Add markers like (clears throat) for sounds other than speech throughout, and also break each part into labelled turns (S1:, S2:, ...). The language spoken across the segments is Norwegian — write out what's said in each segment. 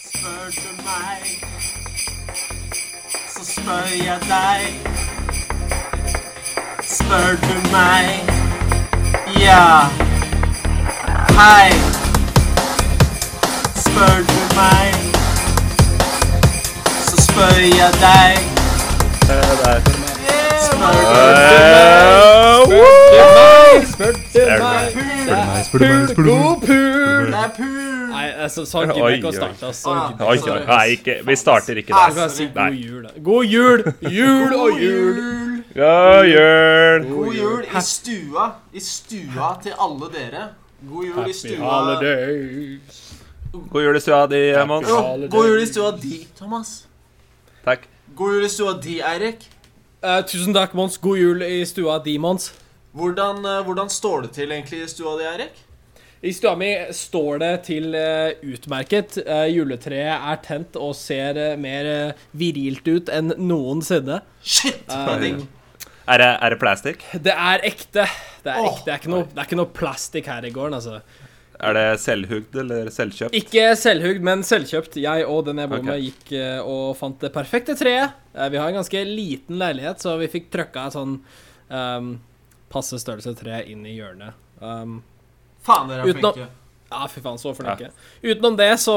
S1: spør du meg, så spør jeg deg. Spør du meg, ja. Hei. Spør du meg, så spør jeg deg. Spør du meg,
S2: Spør du meg, spør du meg.
S1: det er pul.
S3: Nei, altså, sånn gidder jeg
S4: Oi,
S3: ikke å
S4: oi.
S3: starte. ass. Sånn gidder jeg
S4: Oi, oi, oi, nei, ikke, vi starter ikke
S3: ikke.
S4: der.
S3: Bare si
S4: Nei.
S3: god jul, da. God jul! Jul og jul!
S4: God jul!
S1: God jul i stua. I stua til alle dere. God jul i
S3: Happy
S1: stua.
S3: holidays.
S4: God jul i stua di, Mons.
S1: Jo, God jul i stua di, Thomas.
S4: Takk.
S1: God jul i stua di, Eirik.
S3: Eh, tusen takk, Mons. God jul i stua di, Mons.
S1: Hvordan, eh, hvordan står det til egentlig i stua di, Eirik?
S3: I stua mi står det til eh, utmerket. Eh, juletreet er tent og ser eh, mer eh, virilt ut enn noensinne.
S1: Shit!
S3: Eh,
S1: det er digg.
S4: Er det, er det plastikk?
S3: Det er ekte. Det er
S1: Åh.
S3: ekte. Det er ikke noe, det er ikke noe plastikk her i gården, altså.
S4: Er det selvhugd eller selvkjøpt?
S3: Ikke selvhugd, men selvkjøpt. Jeg og den jeg bor
S4: Ok.
S3: med, gikk eh, og fant det perfekte treet. Eh, Vi har en ganske liten leilighet, så vi fikk trøkka et sånn um, passe størrelse tre inn i hjørnet. Um,
S1: Faen, dere er
S3: Utenom-
S1: flinke.
S3: ja, fy faen, så
S4: Ja.
S3: fornøyelig. Utenom det så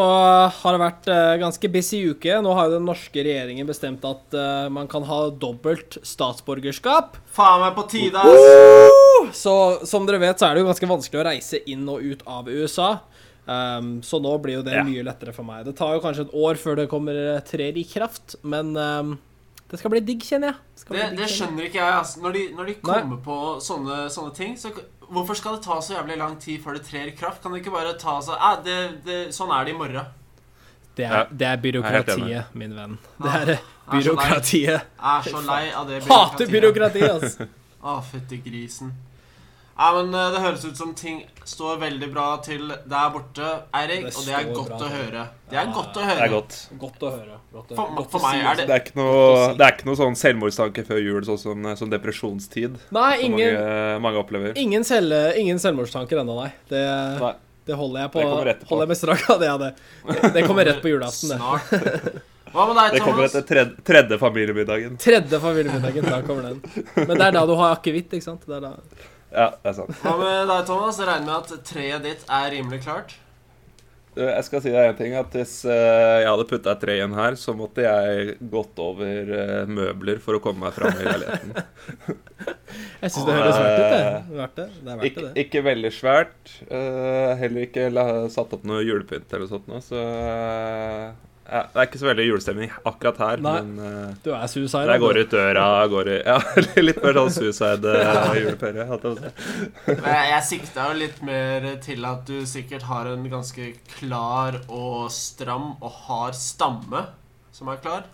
S3: har det vært eh, ganske busy uke. Nå har jo den norske regjeringen bestemt at eh, man kan ha dobbelt statsborgerskap.
S1: Faen meg på tide, ass.
S3: Så som dere vet, så er det jo ganske vanskelig å reise inn og ut av USA. Um, så nå blir jo det
S4: Ja.
S3: mye lettere for meg. Det tar jo kanskje et år før det kommer eh, trer i kraft, men um, det skal bli digg, kjenner jeg. skal bli
S1: Det,
S3: digg,
S1: det
S3: kjenner
S1: skjønner
S3: jeg.
S1: ikke jeg, ass. Når de, når de kommer på sånne, sånne ting, så Hvorfor skal det ta så jævlig lang tid før det trer i kraft? Kan det ikke bare ta så eh, det, det, Sånn er det i morgen.
S3: Det
S4: Ja.
S3: er, det er
S4: Jeg er helt
S3: byråkratiet, min venn. Det er eh,
S1: Ah, er så lei.
S3: byråkratiet.
S1: Jeg er så lei av det
S3: Hater byråkrati,
S1: (laughs)
S3: altså.
S1: Å, fytti grisen. Ja, men eh, Det høres ut som ting står veldig bra til der borte, Eirik,
S3: Det
S1: og det er
S3: står
S1: godt
S3: bra
S1: å
S3: til.
S1: høre. Det er
S3: Ja,
S1: godt å høre.
S4: Det er godt.
S3: Godt å høre. Godt å,
S1: For,
S3: godt å
S1: for meg
S3: si,
S1: er
S3: altså.
S1: det
S4: Det er ikke noe, det er ikke noe sånn selvmordstanke før jul, sånn som, som depresjonstid.
S3: Nei,
S4: Som
S3: ingen,
S4: mange, mange opplever.
S3: ingen, selv, ingen selvmordstanker ennå, nei. Det,
S4: Nei.
S3: det holder jeg på.
S4: Det kommer etterpå.
S3: holder jeg med strak av det, ja, det. Det, det kommer rett på julaften, det.
S1: Snart. Hva med deg,
S4: Det kommer
S1: Thomas?
S4: etter tredje, tredje familiemiddagen.
S3: Tredje familiemiddagen, da kommer den. Men det er da du har akevitt, ikke sant? Det er da.
S4: Ja, det er sant.
S1: Hva med deg, Thomas? Jeg regner med at treet ditt er rimelig klart.
S4: Du, Jeg skal si deg en ting, at hvis eh, jeg hadde putta et tre igjen her, så måtte jeg gått over eh, møbler for å komme meg fram i
S3: (laughs)
S4: leiligheten.
S3: Jeg syns det høres verdt ut, det. Verdt det. det er verdt
S4: Ikke,
S3: det, det.
S4: ikke veldig svært. eh, heller ikke la, satt opp noe julepynt eller noe sånt nå, så eh, ja, Det er ikke så veldig julestemning akkurat her,
S3: Nei.
S4: men eh,
S3: Du er suicide.
S4: når jeg går
S3: du.
S4: ut døra går i, Ja, (laughs) litt mer sånn suicide eh, julepere. hatt jeg på å si.
S1: Men Jeg jeg sikta jo litt mer til at du sikkert har en ganske klar og stram og hard stamme som er klar.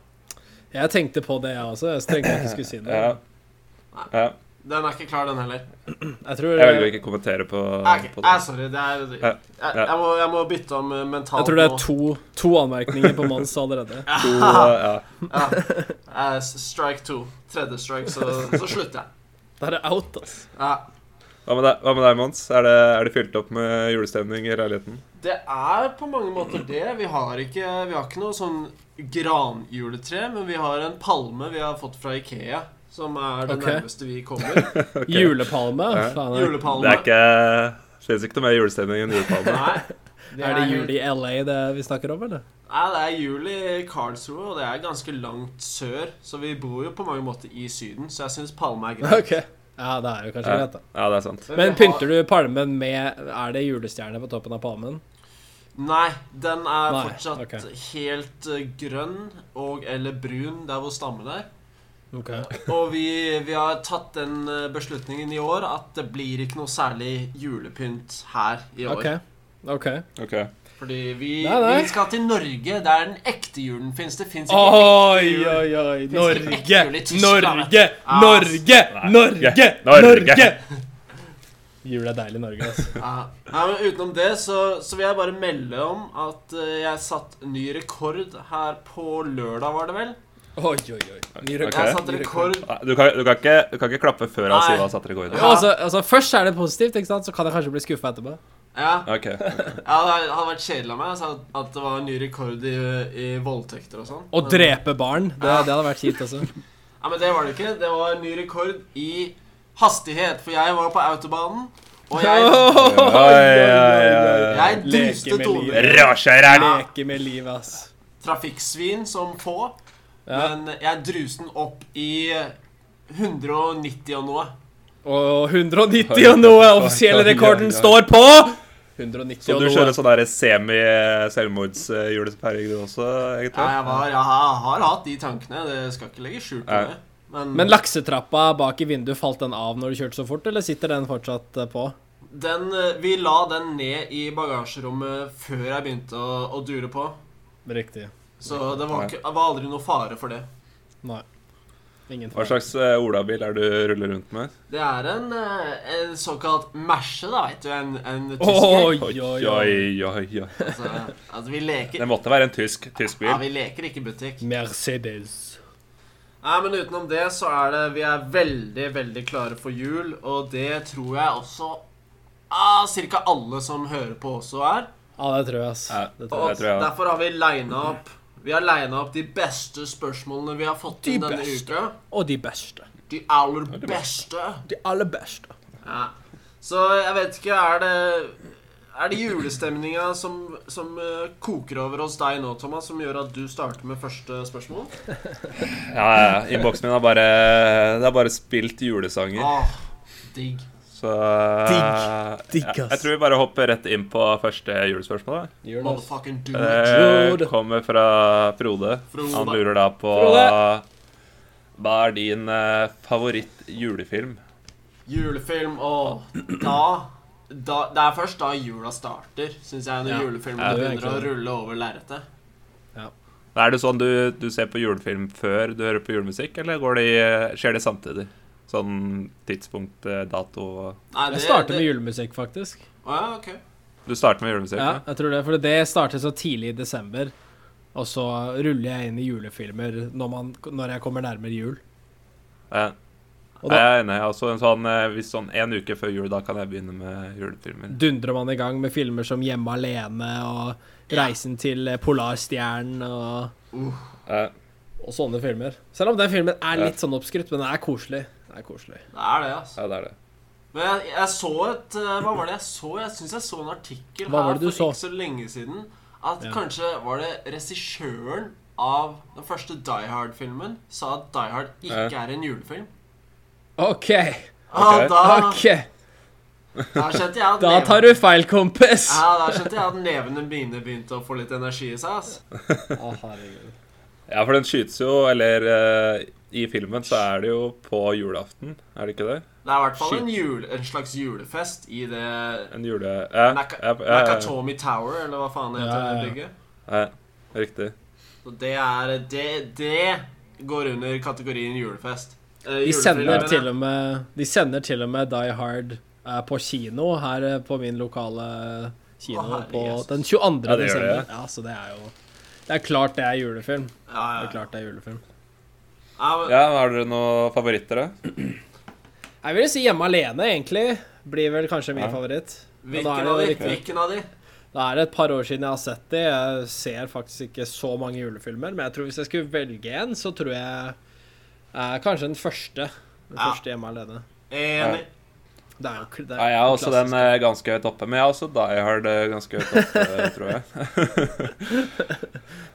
S3: Jeg tenkte på det, jeg også. Jeg tenkte jeg ikke skulle si det.
S4: Ja. Ja.
S1: Den er ikke klar, den heller.
S3: Jeg tror,
S4: Jeg velger å
S3: jeg
S4: ikke kommentere på,
S1: Jeg,
S4: på det.
S1: jeg, sorry, det er
S4: Ja,
S1: jeg, jeg, må, jeg må bytte om eh, mentalt
S3: tror det er
S1: nå.
S3: to, to anmerkninger på Mons allerede.
S4: Så, ja.
S1: Eh, s- Strike two. Tredje strike, så, så slutter jeg.
S3: Der er out, ass.
S1: Ja.
S4: Hva med deg, hva med deg Mons? Er det, er det fylt opp med julestemning i leiligheten? (laughs)
S1: Det er på mange måter det. Vi har ikke, vi har ikke noe sånn granjuletre, men vi har en palme vi har fått fra Ikea, som er det
S3: Ok.
S1: nærmeste vi
S3: (laughs)
S1: kommer.
S3: Julepalme?
S4: Ja.
S3: Faen, er-
S1: Julepalme.
S4: Det er ikke Fins ikke noe mer julestemning enn julepalme.
S1: Nei.
S3: (laughs) er det jul
S1: helt-
S3: i LA det vi snakker om, eller?
S1: Nei, det er jul i Karlsruhe, og det er ganske langt sør, så vi bor jo på mange måter i Syden, så jeg syns palme er greit.
S3: Ok. Ja, det er jo kanskje
S4: Ja,
S3: greit, da.
S4: ja, det er sant.
S3: Men pynter du palmen med Er det julestjerne på toppen av palmen?
S1: Nei, den er
S3: Nei,
S1: fortsatt
S3: ok.
S1: helt eh, grønn og eller brun der hvor stammen er.
S3: Ok.
S1: Og vi, vi har tatt den eh, beslutningen i år at det blir ikke noe særlig julepynt her i år.
S3: Ok. Ok.
S4: Ok.
S1: Fordi vi,
S3: Nei, nei.
S1: vi skal til Norge, der den ekte julen fins. Det fins ikke ekte
S3: Oi,
S1: jul.
S3: oi, oi.
S1: Norge,
S3: Norge,
S1: Norge,
S3: Norge, Norge, Norge,
S4: Ah. Norge!
S3: Norge! (laughs) Jul er deilig i Norge, altså.
S1: Ja. Nei, men utenom det så, så vil jeg bare melde om at eh, jeg satt ny rekord her på lørdag, var det vel?
S3: Oi, oi, oi. Ny rekord.
S4: Ok.
S1: Jeg satte rekord
S4: Nei, Du kan, du kan, ikke, du kan ikke klappe før han
S1: Nei.
S4: sier hva satt rekorden
S1: Ja.
S3: Altså, altså, først er det positivt, ikke sant? så kan jeg kanskje bli skuffa etterpå.
S1: Ja,
S4: Ok.
S1: ja, det hadde vært kjedelig av meg altså, at- at det var en ny rekord i, i voldtekter og sånn.
S3: Å
S1: Men-
S3: drepe barn. Det, det hadde vært kjipt også.
S1: Ja, men det var det ikke. Det var en ny rekord i hastighet, for jeg var på autobanen, (laughs) og (laughs) jeg, jeg
S3: Leke
S1: duste
S3: med
S1: toner.
S3: livet.
S4: Råskjæreren!
S3: Leke med livet, ass.
S1: Trafikksvin som få,
S3: Ja.
S1: men jeg druste den opp i 190 og noe.
S3: Og 190 og noe. Offisielle rekorden står på 190
S4: Så
S3: og
S4: du
S3: noe.
S4: kjører sånn der semi-selvmordsjulepæring du også,
S1: Ja,
S4: egentlig?
S1: jeg, var, jeg har, har hatt de tankene, det skal ikke legge skjul på
S4: Nei.
S1: det. Men,
S3: Men laksetrappa bak i vinduet, falt den av når du kjørte så fort, eller sitter den fortsatt eh, på?
S1: den, eh, vi la den ned i bagasjerommet før jeg begynte å, å dure på.
S3: Riktig.
S1: Så det var,
S4: Nei.
S1: ikke, det var aldri noe fare for det.
S3: Nei. Ingen
S4: Hva
S3: fare.
S4: slags eh, olabil er det du ruller rundt med?
S1: Det er en, eh, en såkalt merse, da, vet du. En, en tysker.
S3: Oi, oi, oi.
S4: oi, oi, oi.
S1: Altså, at vi leker
S4: Det måtte være en tysk, tysk
S1: Ja,
S4: bil.
S1: vi leker ikke butikk.
S3: Mercedes.
S1: Nei, men utenom det så er det Vi er veldig, veldig klare for jul, og det tror jeg også ah, Cirka alle som hører på, også er.
S3: Ja, det tror jeg, ass.
S4: Ja.
S3: Det
S1: Og
S3: tror jeg.
S4: Det tror jeg.
S1: derfor har vi lina opp Vi har lina opp de beste spørsmålene vi har fått
S3: De
S1: inn denne
S3: beste.
S1: uka.
S3: Og de beste.
S1: De aller
S4: de
S1: beste.
S3: De aller beste.
S1: Ja. Så jeg vet ikke Er det er det julestemninga som, som eh, koker over hos deg nå, Thomas, som gjør at du starter med første spørsmål?
S4: Ja, ja. Innboksen min er bare Det er bare spilt julesanger.
S1: Åh, digg.
S4: Så eh,
S3: Digg, digg,
S4: jeg,
S3: ass.
S4: jeg tror vi bare hopper rett inn på første julespørsmål. da.
S3: Gjør det, ass.
S1: Motherfucking do it.
S4: Det
S3: Mm. Frode.
S4: kommer fra Frode.
S1: Frode.
S4: Han lurer da på
S3: Frode.
S4: Hva er din eh, favoritt-julefilm?
S1: Julefilm og da, da Det er først da jula starter, syns jeg, når
S3: Ja.
S1: julefilmen
S4: Ja,
S3: det er
S1: begynner å
S3: egentlig det.
S1: rulle over lerretet.
S4: Er det sånn du, du ser på julefilm før du hører på julemusikk, eller går det, i- skjer det samtidig? Sånn tidspunkt, eh, dato og
S1: Nei,
S3: Jeg starter med julemusikk, faktisk.
S1: Å ja, ok.
S4: Du starter med julemusikk?
S3: Ja,
S4: Ja.
S3: jeg tror det. For det starter så tidlig i desember, og så ruller jeg inn i julefilmer når, man, når jeg kommer nærmere jul.
S4: Ja. Jeg
S3: Og da
S4: er enig. jeg er Også en sånn, eh, hvis sånn en uke før jul, da kan jeg begynne med julefilmer.
S3: dundrer man i gang med filmer som Hjemme alene og Reisen til Polarstjernen og,
S4: Ja.
S3: og sånne filmer. Selv om den filmen er
S4: Ja.
S3: litt sånn oppskrytt, men den er koselig. Den er koselig.
S1: Det er det, altså.
S4: ja, det er det.
S1: Men jeg, jeg så et eh, Hva var det jeg så? Jeg syns jeg så en artikkel
S3: Hva var
S1: her
S3: det du
S1: for
S3: så?
S1: ikke så lenge siden. At
S3: Ja.
S1: kanskje var det regissøren av den første Die Hard-filmen sa at Die Hard ikke er en julefilm.
S3: OK.
S1: Ah,
S4: Ok.
S1: da,
S3: ok.
S1: da skjønte jeg at
S3: Da
S1: neven-
S3: tar du feil, kompis.
S1: ja, da skjønte jeg at nevene mine begynte å få litt energi i seg. ass.
S3: Å, herregud.
S4: Ja, for den skytes jo, eller eh, i filmen så er det jo på julaften, er det ikke det?
S1: Det er i hvert fall en, jul, en slags julefest i det
S4: En jule... Ja,
S1: Naka,
S4: ja, ja, ja,
S1: Nakatomi Tower, eller hva faen det heter
S3: Ja, ja, ja.
S1: det bygget.
S4: ja, riktig.
S1: Så det er Det, det går under kategorien julefest. Eh,
S3: De
S1: julefilm, mener
S3: sender,
S1: jeg.
S3: til og med, de sender til og med Die Hard eh, på kino her eh, på min lokale kino
S1: Å, herre
S3: på
S1: Jesus.
S3: den 22.
S4: Ja, det gjør
S3: desember.
S4: det.
S3: Ja, så det er jo Det er klart det er julefilm.
S1: ja, ja.
S3: Det er klart det er julefilm.
S1: Ja, men,
S4: Ja, har dere noen favoritter, da?
S3: Jeg vil si Hjemme alene, egentlig. Blir vel kanskje min
S4: Ja.
S3: favoritt. Men da er
S1: hvilken, av
S3: det jo
S1: de,
S3: riktig.
S1: hvilken av de?
S3: Da er det et par år siden jeg har sett de. Jeg ser faktisk ikke så mange julefilmer, men jeg tror hvis jeg skulle velge en, så tror jeg eh, kanskje den første. Den
S1: Ja.
S3: første Hjemme alene.
S1: Enig.
S3: Det er jo det er
S4: Ja, jeg har også den
S3: klassisk.
S4: eh, ganske høyt oppe, men jeg har også Die Hard eh, ganske høyt oppe, (laughs) tror jeg.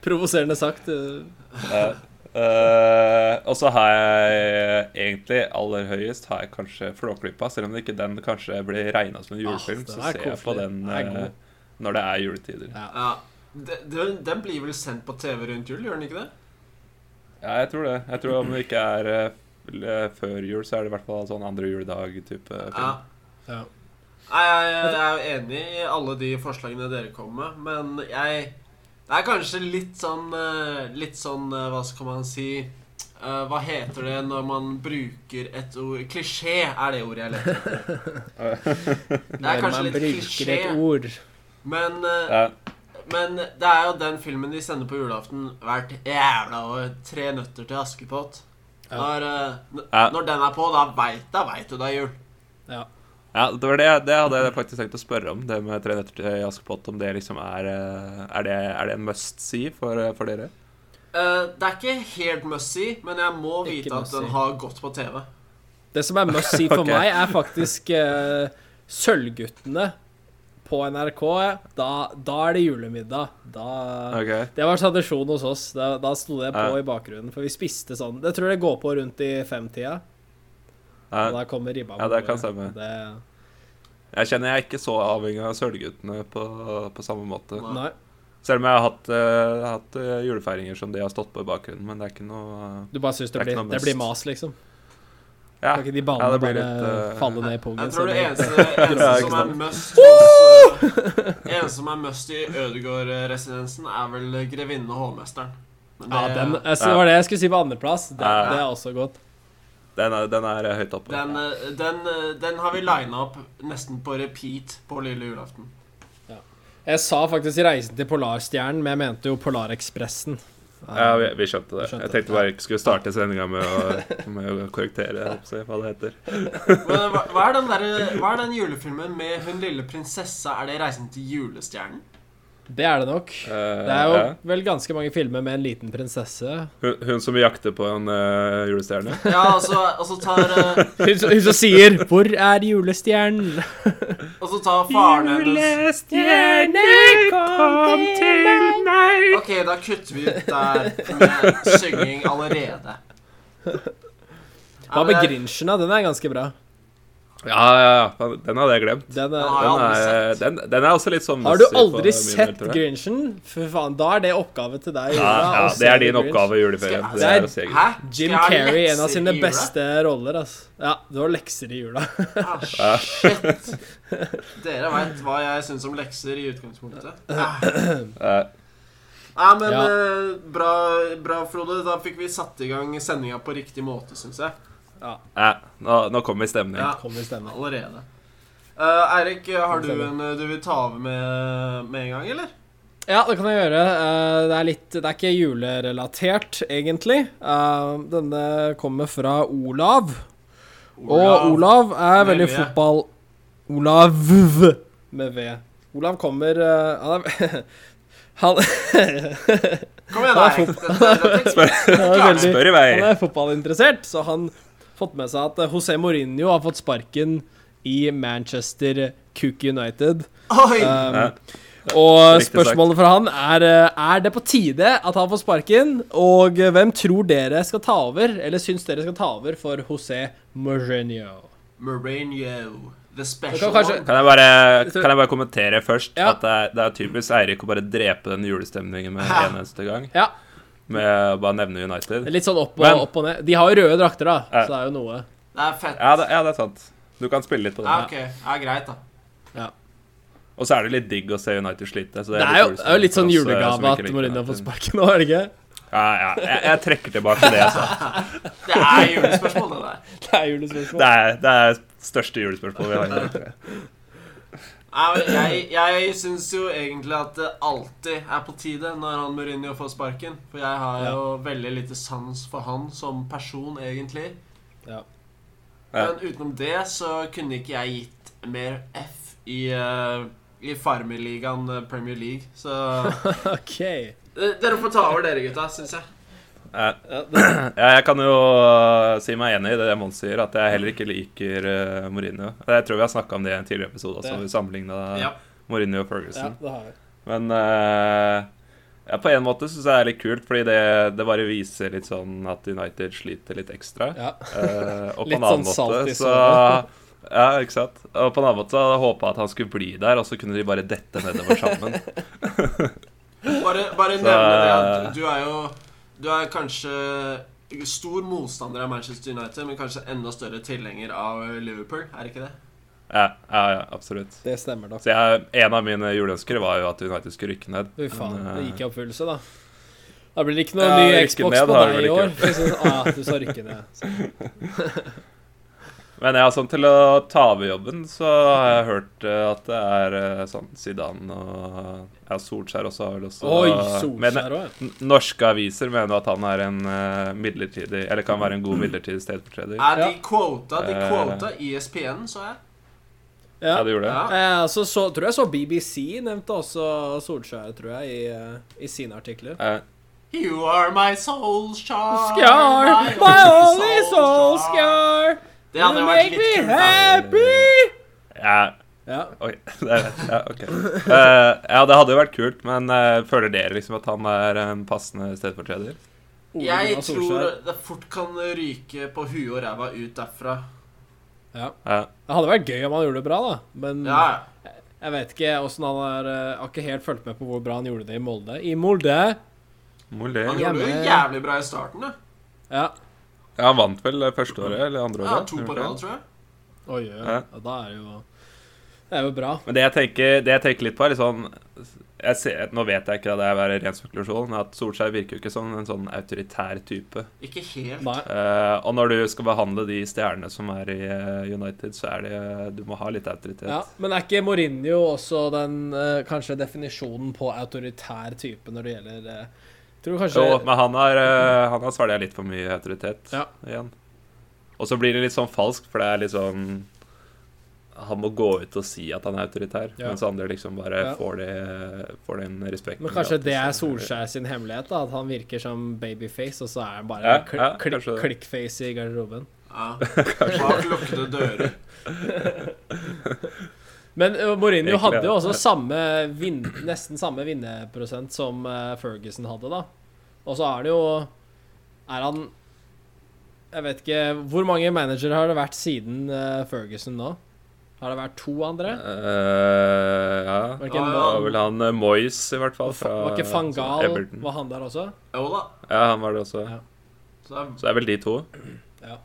S3: Provoserende sagt. eh,
S4: Eh, og så har jeg eh, egentlig aller høyest har jeg kanskje Flåklypa, selv om det ikke den kanskje blir regna som en julefilm.
S3: Ah, den
S4: så
S3: er
S4: ser jeg på
S3: koselig.
S4: den
S3: Den er god.
S4: eh, når det er juletider.
S3: Ja.
S1: Ja. De- Den, den blir vel sendt på TV rundt jul, gjør den ikke det?
S4: Ja, jeg tror det. Jeg tror om det ikke er eh, l- eh, før jul, så er det i hvert fall sånn andre juledag-type film.
S1: Ja.
S3: Ja.
S1: Nei, jeg, jeg er jo enig i alle de forslagene dere kom med, men jeg Det er kanskje litt sånn eh, Litt sånn, eh, hva skal man si eh, Hva heter det når man bruker et ord Klisjé er det ordet jeg leter etter. Det er kanskje
S3: Når man
S1: litt
S3: bruker
S1: klisjé,
S3: et ord.
S1: men, eh,
S4: Ja,
S1: men det er jo den filmen de sender på julaften hvert jævla år. Tre nøtter til Askepott.
S3: Ja.
S1: Når, eh, n-
S4: Ja.
S1: når den er på, da veit da veit du det er jul.
S3: Ja.
S4: Ja, det var det, det hadde jeg faktisk tenkt å spørre om, det med Tre nøtter til Askepott. Om det liksom er eh, Er det, er det en must see for, for dere?
S1: Eh, det er ikke helt must-see, men jeg må
S3: Ikke
S1: vite at den
S3: must-see.
S1: har gått på TV.
S3: Det som er must
S4: (laughs)
S3: see for
S4: Ok.
S3: meg, er faktisk eh, Sølvguttene på NRK. Da, da er det julemiddag. Da
S4: Ok.
S3: Det var tradisjon hos oss. Da, da sto det på
S4: Ja.
S3: i bakgrunnen, for vi spiste sånn. Det tror jeg det går på rundt i femtida.
S4: Ja,
S3: Og da kommer ribba. på
S4: Ja, det kan
S3: bordet.
S4: stemme.
S3: Det,
S4: Jeg kjenner jeg er ikke så avhengig av Sølvguttene på, på samme måte.
S1: Nei.
S3: nei.
S4: Selv om jeg har hatt, eh, hatt eh, julefeiringer som de har stått på i bakgrunnen, men det er ikke noe eh,
S3: Du bare syns det,
S4: Det er ikke
S3: blir-
S4: noe
S3: det blir
S4: must.
S3: mas, liksom.
S4: Ja,
S3: Kan ikke de
S4: ja,
S3: ballene
S4: det blir
S3: bare
S4: litt, eh,
S3: falle ned i pungen?
S1: Jeg
S3: så
S1: tror det
S3: det- (laughs)
S1: eneste, eneste
S4: Ja, ikke
S1: som er
S4: sant.
S1: must hos, eh, Eneste som er must i Ødegård-residensen, er vel Grevinnen og hovmesteren. Men
S3: ja,
S1: det-
S3: den, jeg, så
S4: Ja.
S3: det var det jeg skulle si på andreplass. Det,
S4: Ja.
S3: det er også godt.
S4: den, er, den er eh, høyt oppe.
S1: Den, eh, den, eh, den har vi lina opp nesten på repeat på lille julaften.
S3: Jeg sa faktisk 'Reisen til Polarstjernen', men jeg mente jo Polarekspressen.
S4: Ja, vi, vi skjønte det.
S3: Um, Vi skjønte
S4: jeg
S3: det.
S4: tenkte bare ikke skulle starte sendinga med, å- (laughs) med å korrektere jeg håper å si, hva det heter.
S1: Men hva, hva, er den derre- hva er den julefilmen med hun lille prinsessa? Er det 'Reisen til julestjernen'?
S3: Det er det nok.
S4: Eh,
S3: Det er jo
S4: ja.
S3: vel ganske mange filmer med en liten prinsesse.
S4: hun, hun som jakter på en eh, julestjerne?
S1: Ja, og så, og så tar eh,
S3: Hun som hun som sier 'Hvor er julestjernen?'
S1: Og så tar faren hennes
S3: Julestjerne, kom til meg!
S1: Ok, da kutter vi ut der med synging allerede.
S3: Hva
S1: Ja,
S3: med
S1: men-
S3: Grinchen, da? Den er ganske bra.
S4: Ja, ja, ja. Den- Den hadde jeg glemt.
S3: Den
S1: Den
S3: er,
S1: har jeg
S4: Den
S1: aldri
S4: er,
S1: sett.
S4: den, den er også litt sånn
S3: har du
S4: messy på min
S3: aldri sett
S4: del, tror jeg.
S3: Grinchen? Fy faen, da er det oppgave til deg.
S4: Ja,
S3: Ola,
S4: ja,
S3: å
S4: det
S3: se
S4: er din
S3: Grinch.
S4: oppgave i juleferien.
S1: Skal-
S4: Det er å se Grinch.
S1: Hæ?
S3: Jim
S1: Skal jeg ha
S3: Carrey, en av
S1: lekser
S3: sine
S1: i jula?
S3: beste roller, altså. Ja, du har lekser i jula.
S1: Ah, shit. Dere veit hva jeg syns om lekser i utgangspunktet. Ah.
S4: Eh,
S1: Nei, men
S3: Ja.
S1: eh, bra, bra, Frode. Da fikk vi satt i gang sendinga på riktig måte, syns jeg.
S4: eh, nå, nå kommer stemning.
S1: Ja.
S3: (laughs) Kom i stemmen.
S1: Allerede. Eh, Eirik, har du
S3: Stemmer.
S1: en eh, du vil ta over med med en gang, eller?
S3: Ja, det kan jeg gjøre. Eh, Det er, litt, det er ikke julerelatert, egentlig. Eh, Denne kommer fra Olav. Og Olav er
S1: Med
S3: veldig
S1: V.
S3: fotball... Olav (laughs) med V. Olav kommer eh, Han er (laughs) Han,
S1: Kom igjen,
S3: Han er
S1: Eirik. Dette- dette-
S3: (laughs) han er veldig
S4: Spør i vei.
S3: Han er fotballinteressert, så han fått med seg at eh, José Mourinho har fått sparken i Manchester Cook United.
S1: Oi!
S3: Um,
S4: Ja.
S3: og
S4: Riktig
S3: spørsmålet fra han er eh, Er det på tide at han får sparken. Og eh, hvem tror dere skal ta over, eller syns dere skal ta over for José Mourinho?
S1: Mourinho. The
S3: Det
S1: special
S3: kan kanskje,
S1: one.
S4: Kan jeg, bare, kan jeg bare kommentere først
S3: Ja.
S4: at det er, det er typisk Eirik å bare drepe den julestemningen med
S1: Ja.
S4: en eneste gang?
S3: Ja.
S4: Med å bare nevne United?
S3: litt sånn opp og,
S4: Men-
S3: opp og ned. De har jo røde drakter, da,
S4: Ja.
S3: så det er jo noe.
S1: Det er fett.
S4: Ja det, ja, det er sant. Du kan spille litt på
S1: Ja,
S4: den.
S1: ok. Ja, greit, da.
S4: Og så er det litt digg å se United slite. Så
S3: Det er jo,
S4: dårlig
S3: det er jo litt sånn
S4: stemning for oss, eh, som
S3: julegave
S4: ikke
S3: at
S4: liker
S3: Mourinho har fått
S4: United.
S3: sparken nå, er det ikke?
S4: Ja, ja. Jeg, jeg trekker tilbake det altså. jeg sa.
S1: Det er julespørsmål, det der.
S3: Det er julespørsmål.
S4: Det er det er største julespørsmål vi har. tror jeg.
S1: Nei, men Jeg, jeg syns jo egentlig at det alltid er på tide når han Mourinho får sparken. For jeg har
S3: Ja.
S1: jo veldig lite sans for han som person, egentlig.
S3: Ja.
S4: Ja.
S1: Men utenom det så kunne ikke jeg gitt mer F i, uh, i Farmerligaen eh, Premier League.
S3: (laughs)
S1: Så
S3: OK.
S1: Eh, Dere får ta over, dere gutta, syns jeg.
S4: Ja.
S3: Ja, det,
S4: Ja, jeg kan jo si meg enig i det Mons sier, at jeg heller ikke liker eh, Mourinho. Jeg tror vi har snakka om det i en tidligere episode også,
S3: Det.
S4: vi sammenligna
S1: Ja.
S4: Mourinho og
S3: ja,
S4: Ferguson.
S3: det har jeg.
S4: Men eh, ja, på en måte syns jeg det er litt kult, fordi det, det bare viser litt sånn at United sliter litt ekstra.
S3: Ja.
S4: Eh,
S3: (laughs)
S4: og på
S3: Litt
S4: en annen
S3: sånn salt i
S4: måte så
S3: såret.
S4: Ja, ikke sant. Og på en annen måte så hadde jeg håpa at han skulle bli der, og så kunne de bare dette nedover
S3: (laughs)
S4: sammen.
S1: Bare, bare
S4: Så-
S1: nevne
S3: eh,
S1: det at du er jo Du er kanskje stor motstander av Manchester United, men kanskje enda større tilhenger av Liverpool, er det ikke det?
S4: Ja, ja, ja absolutt.
S3: Det stemmer nok.
S4: Så jeg, en av mine juleønsker var jo at United skulle rykke ned.
S3: Fy faen,
S4: Men, eh,
S3: det gikk i oppfyllelse, da. Da blir det ikke noe
S4: Ja,
S3: ny
S4: rykke
S3: Xbox
S4: ned
S3: på
S4: har det
S3: deg i
S4: vel
S3: år.
S4: ikke
S3: for å si det sånn. Ah, du sa rykke
S4: (laughs)
S3: ned.
S4: Men ja, sånn til å ta over jobben, så har jeg hørt eh, at det er eh, sånn Zidane og ja, Solskjær også har vel også
S3: Oi,
S4: Men,
S3: Solskjær òg.
S4: n- Norske aviser mener at han er en eh, midlertidig Eller kan være en god midlertidig stedfortreder.
S1: Er de
S3: Ja.
S1: quota, E de
S4: Eh.
S1: quota ISPN, så jeg?
S4: Ja, du gjorde det?
S1: Ja.
S3: Eh, så, så tror jeg så BBC nevnte også Solskjær, tror jeg, i, eh, i sine artikler.
S4: Eh,
S1: You are my soul shark.
S3: Skar, my only soul scar,
S1: Det
S3: you
S1: hadde vært
S3: make me
S1: litt kult. da.
S3: happy!
S4: ja.
S3: Ja.
S4: Oi. (laughs) Det er, ja, ok. Eh, ja, det hadde jo vært kult, men eh, føler dere liksom at han er en passende stedfortreder?
S3: Ole
S1: Jeg
S3: Gunnar
S1: tror
S3: Solskjær.
S1: det fort kan ryke på huet og ræva ut derfra.
S3: Ja.
S4: Ja.
S3: Det hadde vært gøy om han gjorde det bra, da. Men
S1: Ja, ja.
S3: jeg vet ikke åssen han har eh, Jeg har ikke helt fulgt med på hvor bra han gjorde det i Molde. I Molde!
S4: Molde.
S1: Han
S4: Ja,
S1: gjorde det jo
S3: Hjemme-
S1: jævlig bra i starten. da.
S3: Ja.
S4: han vant vel eh, første året eller andre
S1: Ja,
S4: året?
S1: to på
S4: gjorde han ikke det?
S1: rad, tror jeg.
S3: Oi, oi, oi.
S4: Ja.
S3: Ja, Da er det jo Det er jo bra.
S4: Men det jeg tenker, det jeg tenker litt på, er litt sånn jeg ser, Nå vet jeg ikke at det er bare ren spekulasjon, men at Solskjær virker jo ikke som en sånn autoritær type.
S1: Ikke helt.
S3: Nei.
S4: Eh, og når du skal behandle de stjernene som er i eh, United, så er det Du må ha litt autoritet.
S3: Ja, men er ikke Mourinho også den eh, kanskje definisjonen på autoritær type når det gjelder eh, Tror kanskje
S4: Jo, men han har, eh, han har svelget litt for mye autoritet
S3: Ja.
S4: igjen. Og så blir det litt sånn falskt, for det er litt sånn Han må gå ut og si at han er autoritær,
S3: Ja.
S4: mens andre liksom bare
S3: Ja.
S4: får, det, får den respekten.
S3: Men kanskje
S4: gratis,
S3: det er
S4: eller-
S3: Solskjær sin hemmelighet, da? At han virker som babyface, og så er han bare
S4: Ja,
S3: kl
S4: ja,
S3: kli-
S4: kanskje det.
S3: klikkface i garderoben.
S1: Ja.
S3: (laughs)
S1: Bak lukkede dører.
S3: Men eh, Mourinho
S4: Egentlig,
S3: hadde jo
S4: ja.
S3: også samme vin nesten samme vinnerprosent som eh, Ferguson hadde, da. Og så er det jo Er han Jeg vet ikke Hvor mange managere har det vært siden eh, Ferguson nå? Har det vært to andre?
S4: Eh, ja.
S3: Var det
S4: Det
S3: ikke en
S1: Ja,
S4: var vel han eh, Moyes, i hvert fall.
S3: Fa-
S4: Fra
S3: var ikke Fangal
S4: Everton.
S3: Var han der også?
S1: Jo da.
S4: Ja, han var det også.
S3: Ja.
S1: Så det er
S4: Så det er vel de to.
S3: Ja.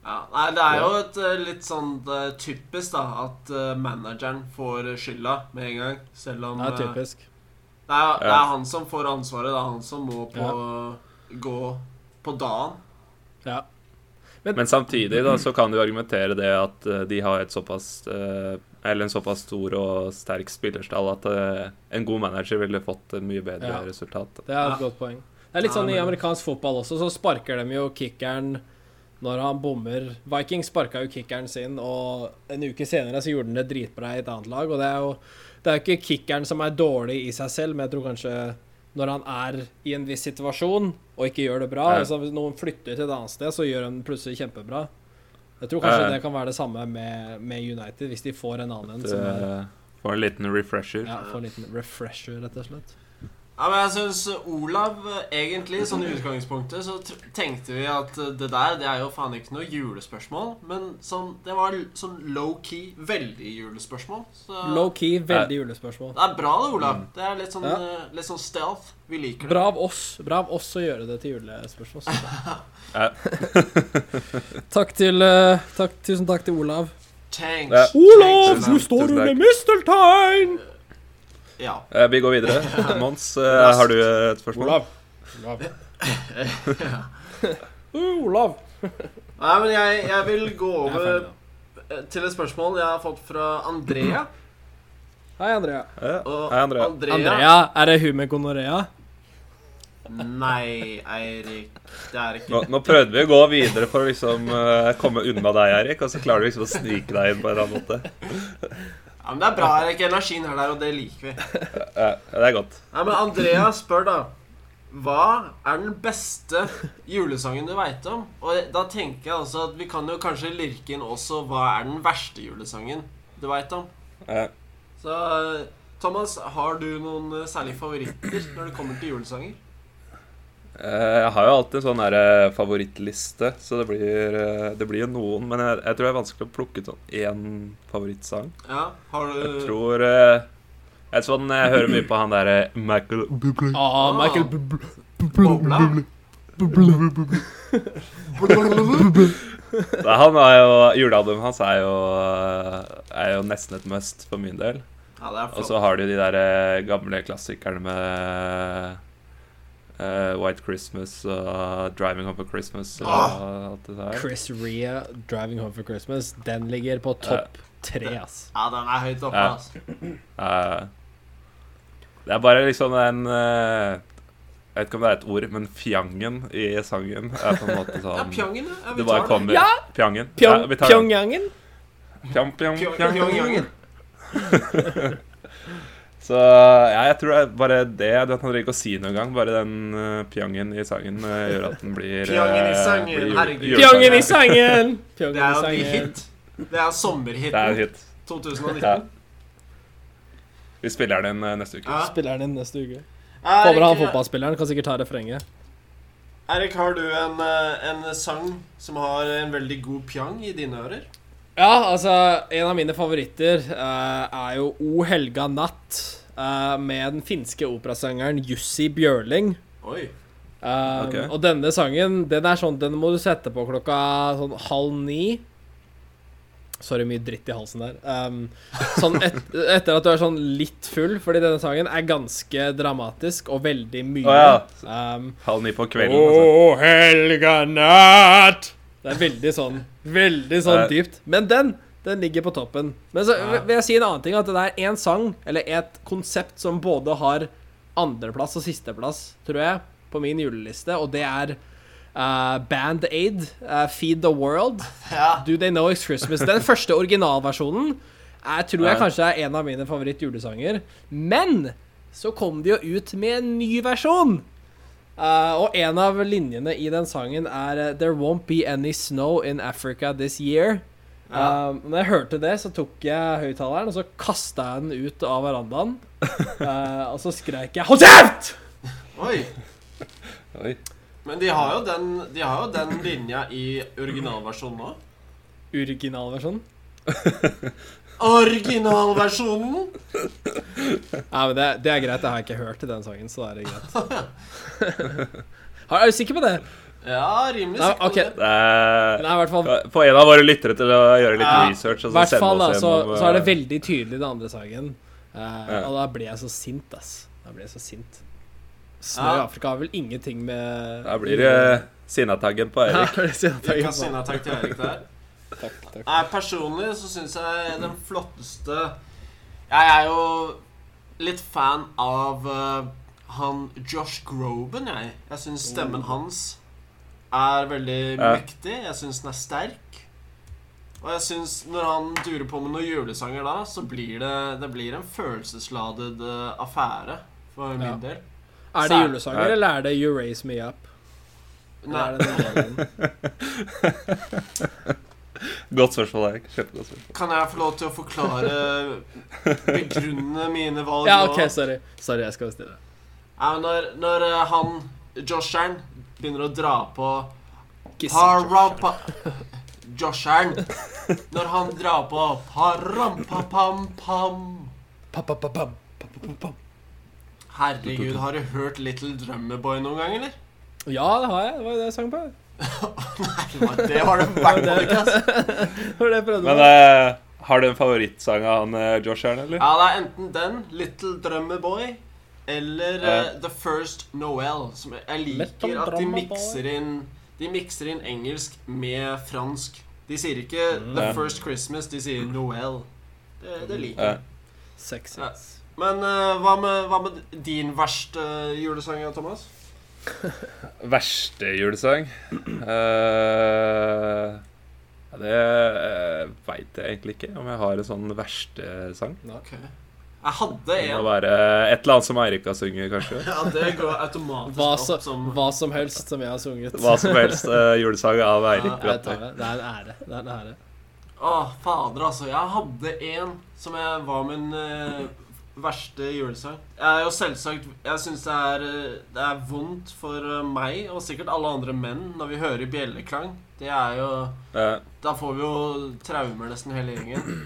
S1: Ja, nei, det er jo et eh, litt sånn eh, typisk da at eh, manageren får skylda med en gang. Selv om
S3: Det er
S1: eh,
S3: typisk.
S1: det, er, det
S4: Ja.
S1: er han som får ansvaret. Det er han som må på, gå på dagen.
S3: Ja.
S4: Men samtidig da, så kan du argumentere det at eh, de har et såpass eh, Eller en såpass stor og sterk spillerstall at eh, en god manager ville fått et mye bedre
S3: Ja.
S4: resultat.
S3: Det er
S1: Ja.
S3: et godt poeng. Det er litt
S1: Ja,
S3: sånn i
S1: men-
S3: amerikansk fotball også, så sparker de jo kickeren når han bommer. Vikings sparka jo kickeren sin, og en uke senere så gjorde han det dritbra i et annet lag. Og det er jo det er jo ikke kickeren som er dårlig i seg selv, men jeg tror kanskje når han er i en viss situasjon og ikke gjør det bra
S4: Ja.
S3: altså Hvis noen flytter til et annet sted, så gjør han plutselig kjempebra. Jeg tror kanskje
S4: Ja.
S3: det kan være det samme med, med United, hvis de får en annen en
S4: At,
S3: som sånn er,
S4: eh, Får en liten refresher.
S3: ja, får en liten refresher, rett og slett.
S1: Ja, men jeg syns Olav eh, egentlig, sånn i utgangspunktet, så tr tenkte vi at eh, det der, det er jo faen ikke noe julespørsmål. Men sånn, det var l- sånn low-key, veldig julespørsmål. Så
S3: Low-key, veldig julespørsmål.
S1: det er bra det, Olav. Det er litt sånn,
S3: Ja.
S1: eh, litt sånn stealth. Vi liker det.
S3: Bra av oss Bra av oss å gjøre det til julespørsmål.
S4: Ja.
S3: (laughs) takk til eh, takk, Tusen takk til Olav.
S1: Thanks.
S4: Ja.
S1: Thanks,
S4: Tusen nå takk. står Tusen under takk.
S3: misteltein!
S1: Ja.
S4: Eh, Vi går
S3: (laughs)
S4: videre. Mons, eh,
S1: Raskt.
S4: har du eh, et spørsmål?
S3: Olav.
S4: (laughs)
S3: Olav. Uh, Olav.
S1: Nei, men jeg, jeg vil gå
S3: Jeg er
S1: over
S3: ferdig nå.
S1: eh, til et spørsmål jeg har fått fra Andrea.
S3: Hei, Andrea.
S4: Ja.
S1: Og
S4: Eh, Hei, Andrea.
S3: Andrea, er det hun med gonorrea?
S1: Nei, Eirik. Det er ikke
S4: Nå, nå prøvde vi å gå videre for å liksom eh, komme unna deg, Erik, og så klarer du liksom å snike deg inn på en eller annen måte.
S1: Ja, Men det er bra, Eirik. Energien er der, og det liker vi.
S4: Eh, det er godt.
S1: Nei, men Andrea spør, da. Hva er den beste julesangen du veit om? Og da tenker jeg altså at vi kan jo kanskje lirke inn også hva er den verste julesangen du veit om?
S4: Eh,
S1: Så eh, Thomas, har du noen eh, særlige favoritter når det kommer til julesanger?
S4: Eh, Jeg har jo alltid en sånn her eh, favorittliste, så det blir, eh, det blir jo noen. Men jeg, jeg tror det er vanskelig å plukke ut sånn én favorittsang.
S1: Ja, har du
S4: Jeg tror eh, jeg, sånn, jeg hører mye på han derre Michael Bublé.
S3: Ah, Michael
S1: Ah.
S3: Bubl...
S1: Bobla?
S4: Nei, Han er jo, Julealbumet hans er jo, eh, er jo nesten et must for min del.
S1: Ja, det er
S4: Og
S1: flott.
S4: så har du de der eh, gamle klassikerne med eh, White Christmas og Driving Home for Christmas og alt det der.
S3: Chris Rea, 'Driving Home for Christmas', den ligger på topp tre, ass.
S1: Ja, den er høyt oppe,
S4: Ja.
S1: altså.
S4: Eh, det er bare liksom en eh, Jeg vet ikke om det er et ord, men fjangen i sangen er på en måte
S1: Ja,
S4: sånn
S1: Pjongen, ja. Ja,
S4: Det
S1: vi
S4: bare
S1: tar den.
S4: kommer.
S3: Ja!
S4: Pjangen.
S3: Pyong,
S4: Ja, vi tar den.
S3: Pyongyangen?
S4: Pjam, pjam,
S1: Pjong-
S4: pjam.
S1: Pyongyangen.
S4: Så ja, jeg tror det er bare det Du trenger ikke å si noe engang. Bare den eh, pjangen i sangen eh, gjør at den blir eh,
S1: Pjangen i sangen,
S4: blir jule-
S1: herregud.
S4: julesangen.
S3: Pjongen i sangen!
S1: Det er jo
S3: Pjongen i
S1: en ny
S3: sangen.
S1: hit. Det er
S4: Det er en
S1: sommerhiten
S4: hit.
S1: 2019.
S4: Ja. Vi spiller den eh, neste uke.
S1: Ja.
S3: Spiller den inn neste uke.
S1: Er
S3: Håper han
S1: ikke-
S3: fotballspilleren kan sikkert ta refrenget.
S1: Erik, har du en, eh, en sang som har en veldig god pjang i dine ører?
S3: Ja, altså, en av mine favoritter eh, er jo O helga natt eh, med den finske operasangeren Jussi Bjørling.
S1: Oi.
S3: Eh,
S4: Ok.
S3: Og denne sangen, den er sånn, den må du sette på klokka sånn halv ni. Sorry, mye dritt i halsen der. Um, sånn et, (laughs) etter at du er sånn litt full, fordi denne sangen er ganske dramatisk og veldig mye.
S4: Å
S3: um,
S4: Halv ni på kvelden. Altså.
S3: Å, helga natt! Det er veldig sånn, veldig sånn
S4: Ja.
S3: dypt. Men den, den ligger på toppen. Men så
S1: Ja.
S3: vil jeg si en annen ting, at det er én sang, eller et konsept, som både har andreplass og sisteplass, tror jeg, på min juleliste, og det er eh, Band Aid, eh, Feed the World,
S1: Ja.
S3: Do They Know It's Christmas. Den første originalversjonen er, tror jeg
S4: Ja.
S3: kanskje er en av mine favorittjulesanger. Men så kom de jo ut med en ny versjon! Eh, og en av linjene i den sangen er eh, There won't be any snow in Africa this year.
S1: Ja.
S3: Eh, når jeg hørte det, så tok jeg høyttaleren og så kasta jeg den ut av (laughs) verandaen. Eh, og så skreik jeg 'Hold kjeft!'
S1: Oi.
S4: Oi.
S1: Men de har jo den, de har jo den linja i originalversjonen nå.
S3: Originalversjonen.
S1: Originalversjonen!
S3: Nei, men det, det er greit. Det har jeg ikke hørt i den sangen, så da er det greit. (laughs) Har- Er du sikker på (laughs) det?
S1: Ja, rimelig
S3: Nei,
S1: sikker på
S3: ok.
S1: det.
S4: Det er,
S3: Nei, i hvert fall
S4: få en av våre lyttere til å gjøre litt
S1: Ja.
S4: research. Og
S3: I
S4: så
S3: hvert
S4: sende
S3: fall da,
S4: Altså, oss
S3: så,
S4: gjennom,
S3: så er det
S4: eh,
S3: veldig tydelig i den andre sangen. Eh,
S4: Ja.
S3: Og da ble jeg så sint, ass. Da ble jeg så sint. Snø i
S1: Ja.
S3: Afrika har vel ingenting med
S4: Da blir det sinnataggen på
S3: Ja, (laughs)
S4: Eirik.
S3: det er sint,
S1: Vi
S3: takk.
S1: kan si nei takk til Erik der.
S3: Takk, takk.
S1: Nei, personlig så syns jeg den flotteste Jeg er jo litt fan av eh, han Josh Groban, jeg. Jeg syns
S3: Mm.
S1: stemmen hans er veldig
S4: Ja.
S1: mektig. Jeg syns den er sterk. Og jeg syns når han durer på med noen julesanger da, så blir det, det blir en følelsesladet eh, affære for min
S3: Ja.
S1: del.
S3: Er det julesanger,
S4: Ja.
S3: eller er det You Raise Me Up? Eller
S1: Nei,
S3: er det den delen?
S1: (laughs)
S4: Godt spørsmål, Eirik. Kjempegodt spørsmål.
S1: kan jeg få lov til å forklare
S3: (laughs)
S1: Begrunne mine valg
S3: Ja,
S1: nå?
S3: OK, sorry. Sorry, jeg skal bestille.
S1: Ja, men når, når eh, han, Josheren, begynner å dra på
S3: Kiss
S1: Parapa... Josheren. Når han drar på parampapam-pam.
S3: Pa-pa-pa-pam, pa-pa-pa-pam.
S1: Herregud, har du hørt Little Drummerboy noen gang, eller?
S3: Ja, det har jeg. Det var jo det jeg sang på.
S1: Nei,
S3: (laughs)
S1: det var- det var det i hvert fall ikke, ass.
S3: Det var det jeg prøvde
S4: Men
S3: med.
S4: eh, har du en favorittsang av han eh, Josh her, eller?
S1: Ja, det er enten den, Little Drummerboy, eller eh, The First Noel. Som jeg- jeg liker
S3: Little
S1: at de
S3: Drummer Boy.
S1: mikser inn De mikser inn engelsk med fransk. De sier ikke The
S4: Mm, Ja.
S1: First Christmas, de sier Noel. Det, det liker
S4: Ja.
S1: jeg.
S3: Sexy.
S1: Ja. Men eh, hva, med, hva med din verste julesang, Thomas?
S4: Verste julesang? Eh, det uh, veit jeg egentlig ikke, om jeg har en sånn verste sang.
S1: Ok Jeg hadde
S4: Det må
S1: en.
S4: være et eller annet som Eirik har sunget,
S3: (laughs)
S4: kanskje.
S1: Ja, det går automatisk
S3: Hva, så,
S1: opp som
S3: hva som helst som jeg har sunget.
S4: Hva som helst eh, julesang av Eirik
S1: Ja,
S3: Jeg
S4: Brattøy.
S3: tar det. Det er en ære. Det er en ære.
S1: Å, fader, altså. Jeg hadde en som jeg var min eh, verste julesang. Jeg er jo selvsagt Jeg syns det, er, eh, det er vondt for eh, meg, og sikkert alle andre menn, når vi hører bjelleklang. Det er jo
S4: Eh,
S1: Da får vi jo traumer nesten hele gjengen.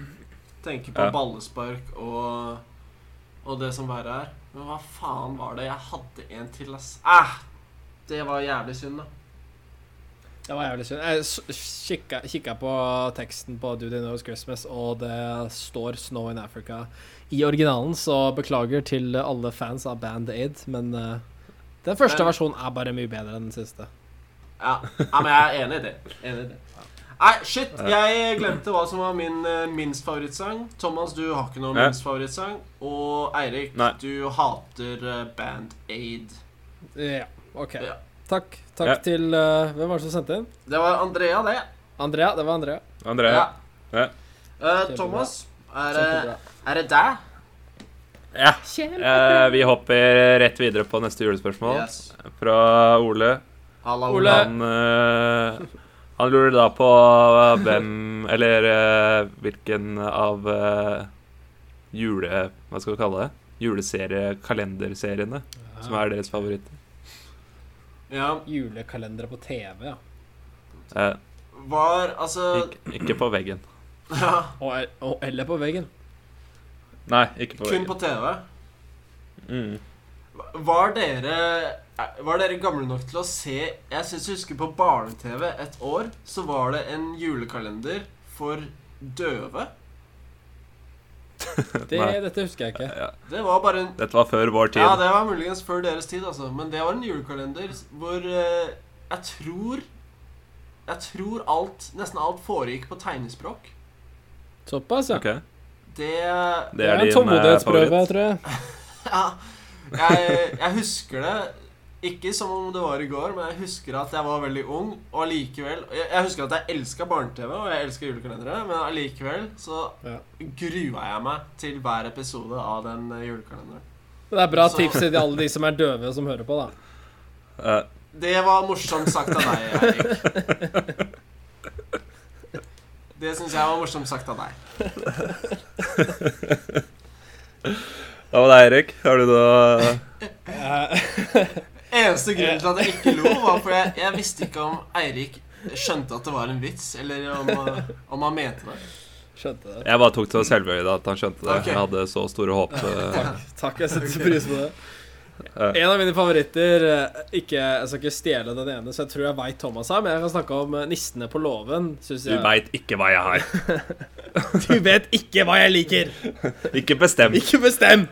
S1: Tenker på
S4: Ja.
S1: ballespark og, og det som verre er. Men hva faen var det? Jeg hadde en til, ass. Ah, det var jævlig synd, da.
S3: Det var jævlig synd. Jeg s- kikka, kikka på teksten på Do They Know It's Christmas, og det står 'Snow in Africa' i originalen, så beklager til alle fans av Band Aid, men eh, den første
S1: Men-
S3: versjonen er bare mye bedre enn den siste.
S1: Ja, ja men jeg er enig i det. Enig i det. Nei, shit, jeg glemte hva som var min eh, minst favorittsang. Thomas, du har ikke noen
S4: Ja.
S1: minst favorittsang. Og Eirik,
S4: Nei.
S1: du hater eh, Band Aid.
S3: Ja, OK.
S1: Ja.
S3: Takk. Takk
S4: Ja.
S3: til eh, Hvem var det som sendte inn?
S1: Det var Andrea, det.
S3: Andrea. Det var Andrea.
S4: André,
S1: Ja.
S4: Ja.
S1: Eh, Thomas, er, det-
S3: Kjempebra.
S1: er det deg?
S4: Ja. Eh, vi hopper rett videre på neste julespørsmål
S1: Yes.
S4: fra Ole.
S1: Halla,
S3: Ole.
S1: Ole.
S4: Han, eh, han lurer da på hvem Eller eh, hvilken av eh, jule... Hva skal vi kalle det? Juleserie-kalenderseriene som er deres favoritt.
S1: Ja,
S3: Julekalendere på TV, ja.
S4: Eh,
S1: var altså
S4: ikke, ikke på veggen.
S1: ja,
S3: Og, og eller på veggen.
S4: Nei, ikke på
S1: Kun
S4: veggen.
S1: på TV.
S4: Mm.
S1: Var dere eh, var dere gamle nok til å se Jeg syns jeg husker på barne-TV et år, så var det en julekalender for døve.
S3: Det,
S4: Nei.
S3: dette husker jeg ikke.
S4: Ja,
S1: Det var bare en
S4: dette var før vår tid.
S1: Ja, det var muligens før deres tid, altså. Men det var en julekalender hvor eh, jeg tror Jeg tror alt, nesten alt foregikk på tegnespråk.
S3: Såpass, ja.
S4: Ok,
S1: Det
S4: Det er
S3: en
S4: din eh,
S3: tålmodighetsprøve,
S4: favoritt.
S3: tror jeg.
S1: Ja. Jeg, jeg husker det ikke som om det var i går, men jeg husker at jeg var veldig ung, og allikevel Jeg, jeg husker at jeg elska barne-TV, og jeg elska julekalendere, men allikevel så
S3: Ja.
S1: grua jeg meg til hver episode av den eh, julekalenderen.
S3: Det er bra
S1: Så-
S3: tips til alle de som er døve og som hører på, da.
S4: Eh,
S1: Det var morsomt sagt av deg, Eirik. Det syns jeg var morsomt sagt av deg.
S4: Da var det Eirik. Har du da
S3: Eh, (laughs)
S1: Eneste grunnen til at jeg ikke lo, var fordi jeg, jeg visste ikke om Eirik skjønte at det var en vits, eller om, eh, om han mente det.
S3: Skjønte det.
S4: Jeg bare tok det så selvhøyde at han skjønte det.
S1: Ok.
S4: Jeg hadde så store håp. eh,
S3: (laughs) Takk, jeg setter pris på det. En av mine favoritter eh, ikke, Jeg skal ikke stjele den ene, så jeg tror jeg veit Thomas her, men jeg kan snakke om eh, Nissene på låven. synes
S4: Du
S3: jeg.
S4: veit ikke hva jeg har.
S3: (laughs) Du vet ikke hva jeg liker!
S4: Ikke bestem.
S3: Ikke
S4: (laughs)
S3: bestem!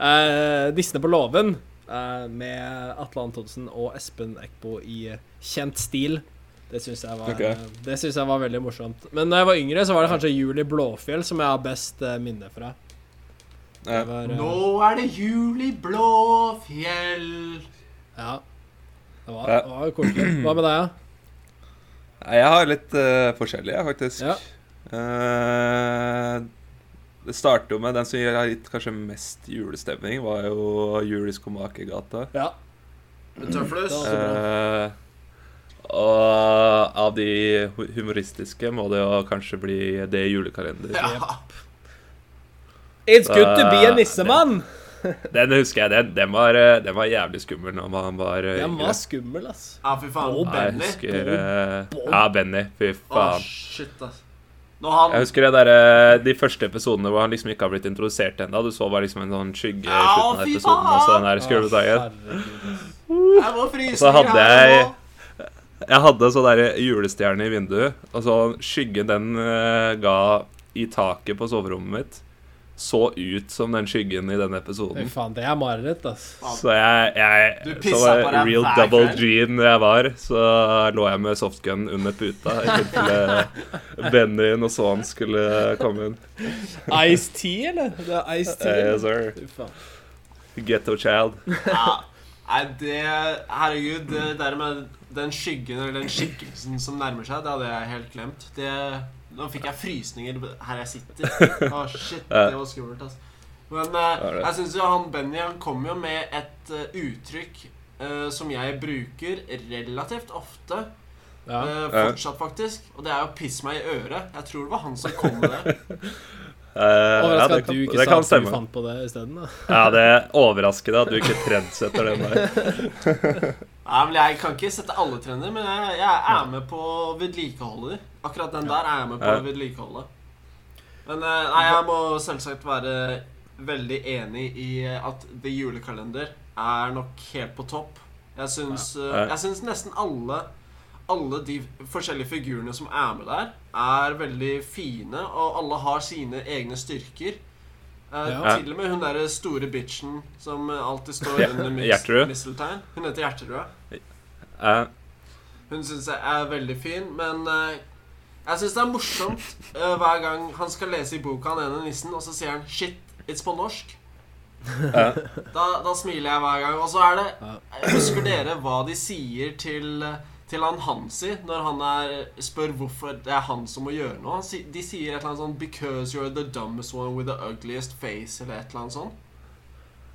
S3: Eh, Nissene på låven eh, med Atle Antonsen og Espen Eckbo i eh, kjent stil. Det syns jeg, var-
S4: Ok.
S3: eh, det synes jeg var veldig morsomt. Men da jeg var yngre, så var det kanskje Jul i Blåfjell som jeg har best eh, minne fra. Det
S4: Ja.
S3: var, eh,
S1: Nå er det jul i Blåfjell.
S3: ja. Det var,
S4: Ja.
S3: det var koselig. Hva med deg, da?
S4: Jeg har litt eh, forskjellig, jeg, faktisk.
S3: Ja.
S4: Eh, det starter jo med den som har gitt kanskje mest julestemning, var jo Jul i Skomakergata.
S3: Ja.
S1: Med tøflus.
S3: Ja.
S4: Eh, og av de hu- humoristiske må det jo kanskje bli det i julekalender.
S1: (laughs) Ja.
S3: It's good to be a nissemann!
S4: Den husker jeg. Den, den, var, eh, den var jævlig skummel når man var eh,
S3: Den
S4: yngre.
S3: var skummel, ass.
S1: ja, fy faen.
S3: Bob.
S4: Ja, jeg
S1: Benny.
S4: husker eh,
S3: Bob.
S4: Ja, Benny. Fy
S1: Å,
S4: faen.
S1: shit, ass. Når han
S4: Jeg husker det der, eh, de første episodene hvor han liksom ikke har blitt introdusert ennå. Du så bare liksom en sånn skygge i
S1: Au,
S4: slutten av
S1: fy
S4: episoden. Og så den der skumle
S3: Å,
S4: dagen.
S3: Ah, herregud, ass.
S1: Jeg må fryse.
S4: Og så hadde
S1: her
S4: jeg-
S1: nå.
S4: Jeg hadde så der julestjerne i vinduet, og så skyggen den eh, ga i taket på soverommet mitt, så ut som den skyggen i den
S3: Fy
S4: episoden.
S3: faen, det er mareritt, ass.
S4: Så jeg,
S1: Du
S4: jeg
S1: pisset
S4: så
S1: på deg
S4: real
S1: hver
S4: double
S1: kveld.
S4: G-en jeg var, så lå jeg med softgun under puta i
S1: (laughs)
S4: tilfelle Benny og så han skulle komme inn.
S3: Ice tea, eller? Det er ice tea.
S4: Eh,
S3: eller?
S4: yes, sir.
S3: Fy faen.
S4: Ghetto child. Eh,
S1: Ja. Nei, det Herregud, det der med den skyggen eller den skikkelsen som nærmer seg, det hadde jeg helt glemt. Det Nå fikk jeg frysninger her jeg sitter. Å, shit. Det var skummelt, ass. Men eh,
S4: Ja, det.
S1: jeg syns jo han Benny han kom jo med et eh, uttrykk eh, som jeg bruker relativt ofte.
S3: Ja.
S1: Eh, fortsatt, faktisk. Og det er jo 'piss meg i øret'. Jeg tror det var han som kom med det.
S4: Eh, ja,
S3: Overraska
S4: det
S3: at
S4: kan,
S3: du ikke
S4: det
S3: sa
S4: kan
S3: at du
S4: stemme.
S3: fant på det isteden. da.
S4: Ja, det er overraskende at du ikke trendsetter den
S3: (laughs)
S4: der.
S1: Nei, men Jeg kan ikke sette alle trender, men jeg, jeg er med på å vedlikeholde dem. Akkurat den der er jeg med på
S4: Ja.
S1: å vedlikeholde. Men eh, nei, jeg må selvsagt være veldig enig i at The Julekalender er nok helt på topp. Jeg syns, eh,
S4: Ja.
S1: jeg syns nesten alle alle de forskjellige figurene som er med der, er veldig fine, og alle har sine egne styrker. Eh,
S3: Ja.
S1: Til og med hun derre store bitchen som eh, alltid står
S4: Ja, (laughs)
S1: under
S4: Gjertrud.
S1: mis misteltein. Hun heter Gjerterud.
S4: Eh,
S1: Hun syns jeg er veldig fin, men eh, jeg syns det er morsomt eh, hver gang han skal lese i boka han ene nissen, og så sier han 'shit, it's på norsk'.
S4: Ja.
S1: Da, da smiler jeg hver gang. Og så er det
S3: Ja.
S1: Husker dere hva de sier til, til han Hansi når han er, spør hvorfor det er han som må gjøre noe. Han, si- de sier et eller annet sånn 'Because you're the dumbest one with the ugliest face', eller et eller annet sånt.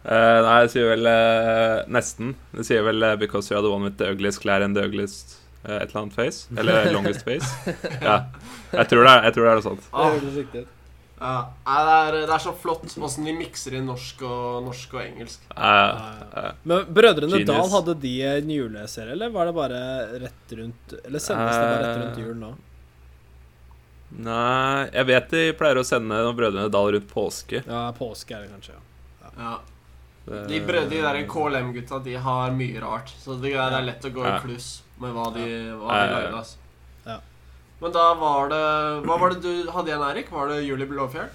S4: Eh, nei, det sier vel eh, nesten. Det sier vel eh, 'because you're the one with the ugliest clear and the ugliest eh, et eller annet face'.
S3: (laughs)
S4: Eller 'longest face'. Ja. Jeg tror det er, jeg tror det, er noe sånt.
S3: Det
S1: Åh,
S3: hørtes riktig ut.
S1: ja. Nei, det, er, det er så flott åssen de mikser inn norsk og, norsk og engelsk.
S3: Ah,
S4: Eh, eh,
S3: Men Brødrene
S4: Genius.
S3: Dal, hadde de en juleserie, eller var det bare rett rundt Eller sendes det bare rett rundt jul nå?
S4: nei Jeg vet de pleier å sende noen Brødrene Dal rundt påske.
S3: Ja, påske er det kanskje, ja.
S1: Ja.
S4: Det-
S1: De, brød, de der
S4: (laughs)
S1: KLM-gutta de har mye rart, så det er det er lett å gå i
S4: Ja.
S1: kluss med hva de, hva de
S4: Ja, ja, ja.
S1: lagde. Altså.
S3: Ja.
S1: Men da var det Hva var det du hadde igjen, Erik? Var det Julie Blåfjell?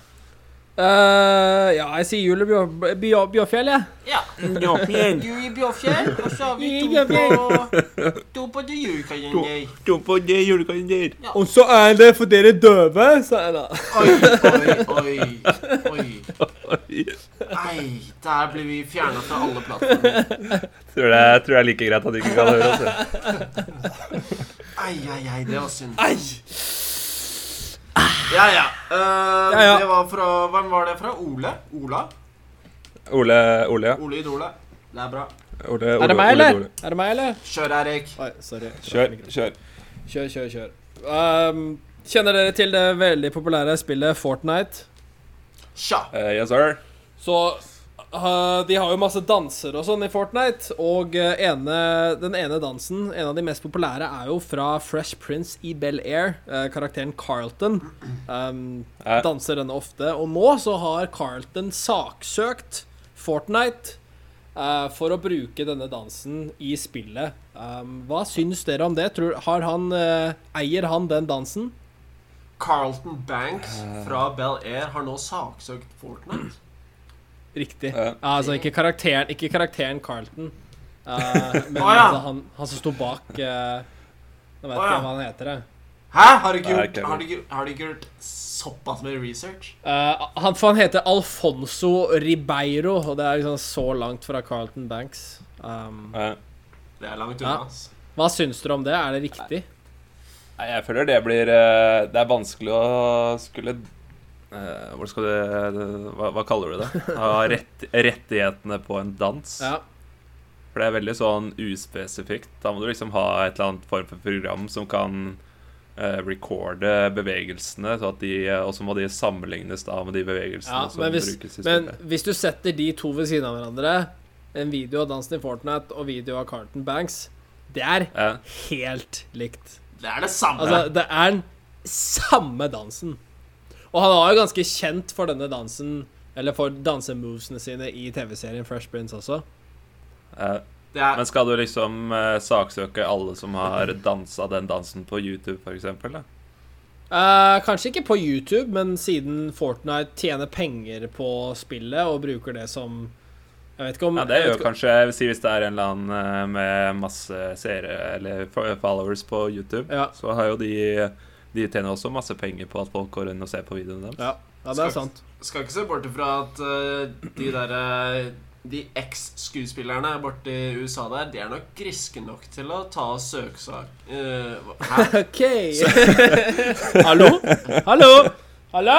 S3: Eh, ja, jeg sier Jule Bjør- Bjør- Bjørfjell, jeg.
S1: Ja. Julie Blåfjell, og så har
S3: vi to på-
S1: to på The
S4: Julekalender. Tro på det, julekalender.
S3: Og så er det for dere døve, sa jeg da.
S1: Oi, oi, oi. oi.
S4: Oi.
S1: Nei, der blir vi fjerna fra alle plattformer.
S4: Tror det, jeg tror det er like greit at de ikke kan høre oss. jeg.
S1: Ai, ai, ai, det var synd. Ja, ja. Eh,
S3: Ja, ja.
S1: Det var fra Hvem var det fra? Ole? Ola?
S4: Ole, Ole, ja.
S1: Ole Idola. Det er bra.
S4: Ole, Ole,
S3: Er det meg,
S4: Ole,
S3: eller?
S4: Ole.
S3: Er det meg, eller?
S1: Kjør, Erik.
S3: Oi, sorry.
S4: Kjør, kjør.
S3: Kjør, kjør, kjør. Ehm, kjenner dere til det veldig populære spillet Fortnite?
S1: Tja.
S4: Eh, yes, sir.
S3: Så eh, de har jo masse danser og sånn i Fortnite, og eh, ene, den ene dansen, en av de mest populære, er jo fra Fresh Prince i Bel-Air, eh, karakteren Carlton. Um,
S4: Ja.
S3: danser denne ofte, og nå så har Carlton saksøkt Fortnite eh, for å bruke denne dansen i spillet. Um, hva syns dere om det? Tror, har han, eh, eier han den dansen?
S1: Carlton Banks fra Bel Air har nå saksøkt Fortnite.
S3: Riktig.
S4: Ja.
S3: Altså ikke karakteren, ikke karakteren Carlton,
S4: (laughs)
S3: eh, men
S1: Å, ja.
S3: altså, han, han som sto bak eh, Nå vet
S1: Å, ja.
S3: ikke jeg hva han heter. jeg.
S1: Hæ? Har du ikke
S4: Nei,
S1: gjort,
S4: ikke
S1: har du, ikke- har du ikke gjort såpass med research?
S3: Eh, han, for han heter Alfonso Ribeiro, og det er liksom så langt fra Carlton Banks. Um,
S4: Eh,
S1: Det er langt
S3: Ja.
S1: unna. ass.
S3: hva syns dere om det? Er det riktig?
S4: Nei, jeg føler det blir eh, Det er vanskelig å skulle eh, Hvor skal du hva, hva kaller du det? Ha rett, rettighetene på en dans.
S3: Ja.
S4: For det er veldig sånn uspesifikt. Da må du liksom ha et eller annet form for program som kan eh, recorde bevegelsene, så at de, eh, og så må de sammenlignes da med de bevegelsene
S3: Ja,
S4: Sånn som
S3: men hvis,
S4: brukes i
S3: men
S4: spillet.
S3: hvis du setter de to ved siden av hverandre, en video av dansen i Fortnite og video av Carlton Banks, det er
S4: Ja.
S3: helt likt.
S1: Det er det samme.
S3: Altså, det er den samme dansen. Og han var jo ganske kjent for denne dansen, eller for dansemovesene sine i TV-serien Fresh Prince også.
S4: Eh,
S1: det er,
S4: men skal du liksom eh, saksøke alle som har dansa den dansen på YouTube, f.eks.?
S3: Eh, kanskje ikke på YouTube, men siden Fortnite tjener penger på spillet og bruker det som Jeg vet ikke om
S4: Ja, det
S3: jeg
S4: gjør
S3: vet ikke-
S4: kanskje jeg vil si hvis det er en eller annen eh, med masse seere eller fo- followers på YouTube,
S3: Ja.
S4: så har jo de De tjener også masse penger på at folk går inn og ser på videoene deres.
S3: Ja, ja, det er sant.
S1: skal ikke se bort ifra at eh, de der eh, De eks-skuespillerne borti USA der, de er nok griske nok til å ta søksak... eh, hva- hæ?
S3: OK. (laughs) Hallo? Hallo? Hallo?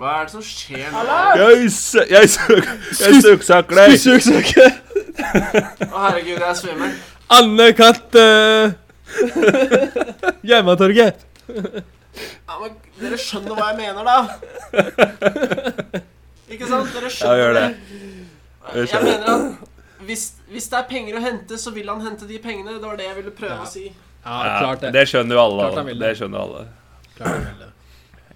S1: Hva er det som skjer nå?
S3: Hallo?
S4: Jeg, sø- jeg, søk, jeg søksaker deg!
S1: Å, herregud, jeg svimmer.
S3: Anne Katt uh... (laughs) Hjemmetorget.
S1: Ja, men dere skjønner hva jeg mener,
S4: (laughs)
S1: da? Ikke sant? Dere
S4: Ja,
S1: skjønner
S4: gjør det. Vi
S1: Jeg
S4: skjønner.
S1: mener at hvis, hvis det er penger å hente, så vil han hente de pengene. Det var det jeg ville prøve
S3: Ja.
S1: å si.
S3: Ja,
S4: Ja,
S3: klart det.
S4: det skjønner jo alle.
S3: Klart han vil det.
S4: Det skjønner alle.
S3: Klart det vel det.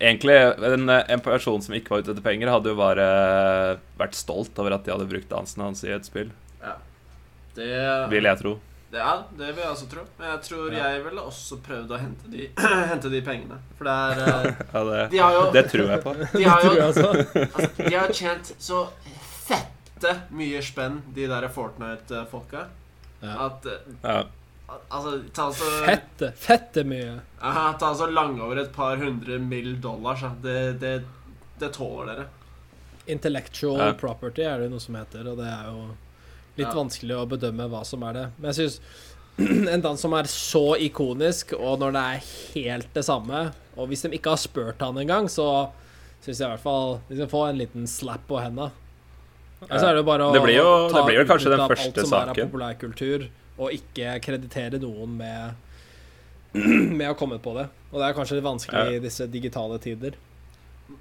S4: Egentlig, en, en person som ikke var ute etter penger, hadde jo bare vært stolt over at de hadde brukt dansen hans i et spill,
S1: Det,
S4: vil jeg tro.
S1: det, ja, det vil jeg også tro. Men jeg tror
S3: Ja.
S1: jeg ville også prøvd å hente de, (clears throat) hente de pengene. For det er eh,
S4: Ja, det,
S1: (laughs) De har jo,
S4: det tror jeg på.
S1: de
S3: (laughs)
S1: har
S3: Tror
S1: jo
S3: jeg altså.
S1: altså, De har tjent så fette mye spenn, de der Fortnite-folka,
S3: Ja.
S1: at eh,
S4: Ja.
S1: al- Altså, ta så
S3: Fette. Fette mye.
S1: Aha, ta så lange over et par hundre mill. dollar, så det, det, det tåler dere.
S3: Intellectual
S4: Ja.
S3: property er det noe som heter, og det er jo litt
S1: Ja.
S3: vanskelig å bedømme hva som er det. Men jeg syns (clears throat) en dans som er så ikonisk, og når det er helt det samme Og hvis de ikke har spurt han engang, så syns jeg i hvert fall de skal få en liten slap på henda. Ellers er det jo bare å
S4: Det blir jo-
S3: ta
S4: det blir jo kanskje
S3: utbytte
S4: den
S3: av
S4: første
S3: alt som er av
S4: saken.
S3: populærkultur, og ikke kreditere noen med (clears throat) med å ha kommet på det. Og det er kanskje litt vanskelig i disse digitale tider.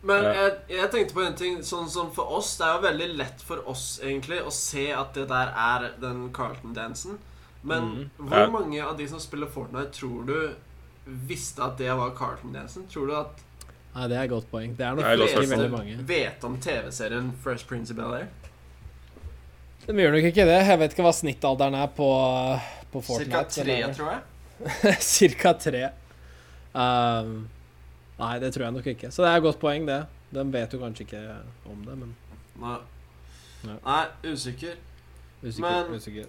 S1: Men
S4: Ja.
S1: jeg, jeg tenkte på en ting Sånn som for oss Det er jo veldig lett for oss egentlig Å se at det der er den Carlton-dansen Men
S3: Mhm.
S1: hvor
S4: Ja.
S1: mange av de som spiller Fortnite Tror du visste at det var Carlton-dansen? Tror du at
S3: Nei, det er et godt poeng. Det er
S4: Det er et
S3: nok
S4: godt
S3: ikke
S4: spørsmål.
S3: veldig mange.
S1: vet om TV-serien Fresh Prince of Bel-Air?
S3: De gjør nok ikke det. Jeg vet ikke hva snittalderen er på, på
S1: Cirka
S3: Fortnite.
S1: tre, tror jeg
S3: (laughs) Cirka tre. Ehm, nei, det tror jeg nok ikke. Så det er et godt poeng, det. De vet jo kanskje ikke om det, men
S1: Nei,
S3: Ja.
S1: Nei usikker
S3: usikker.
S1: Men-
S3: usikker.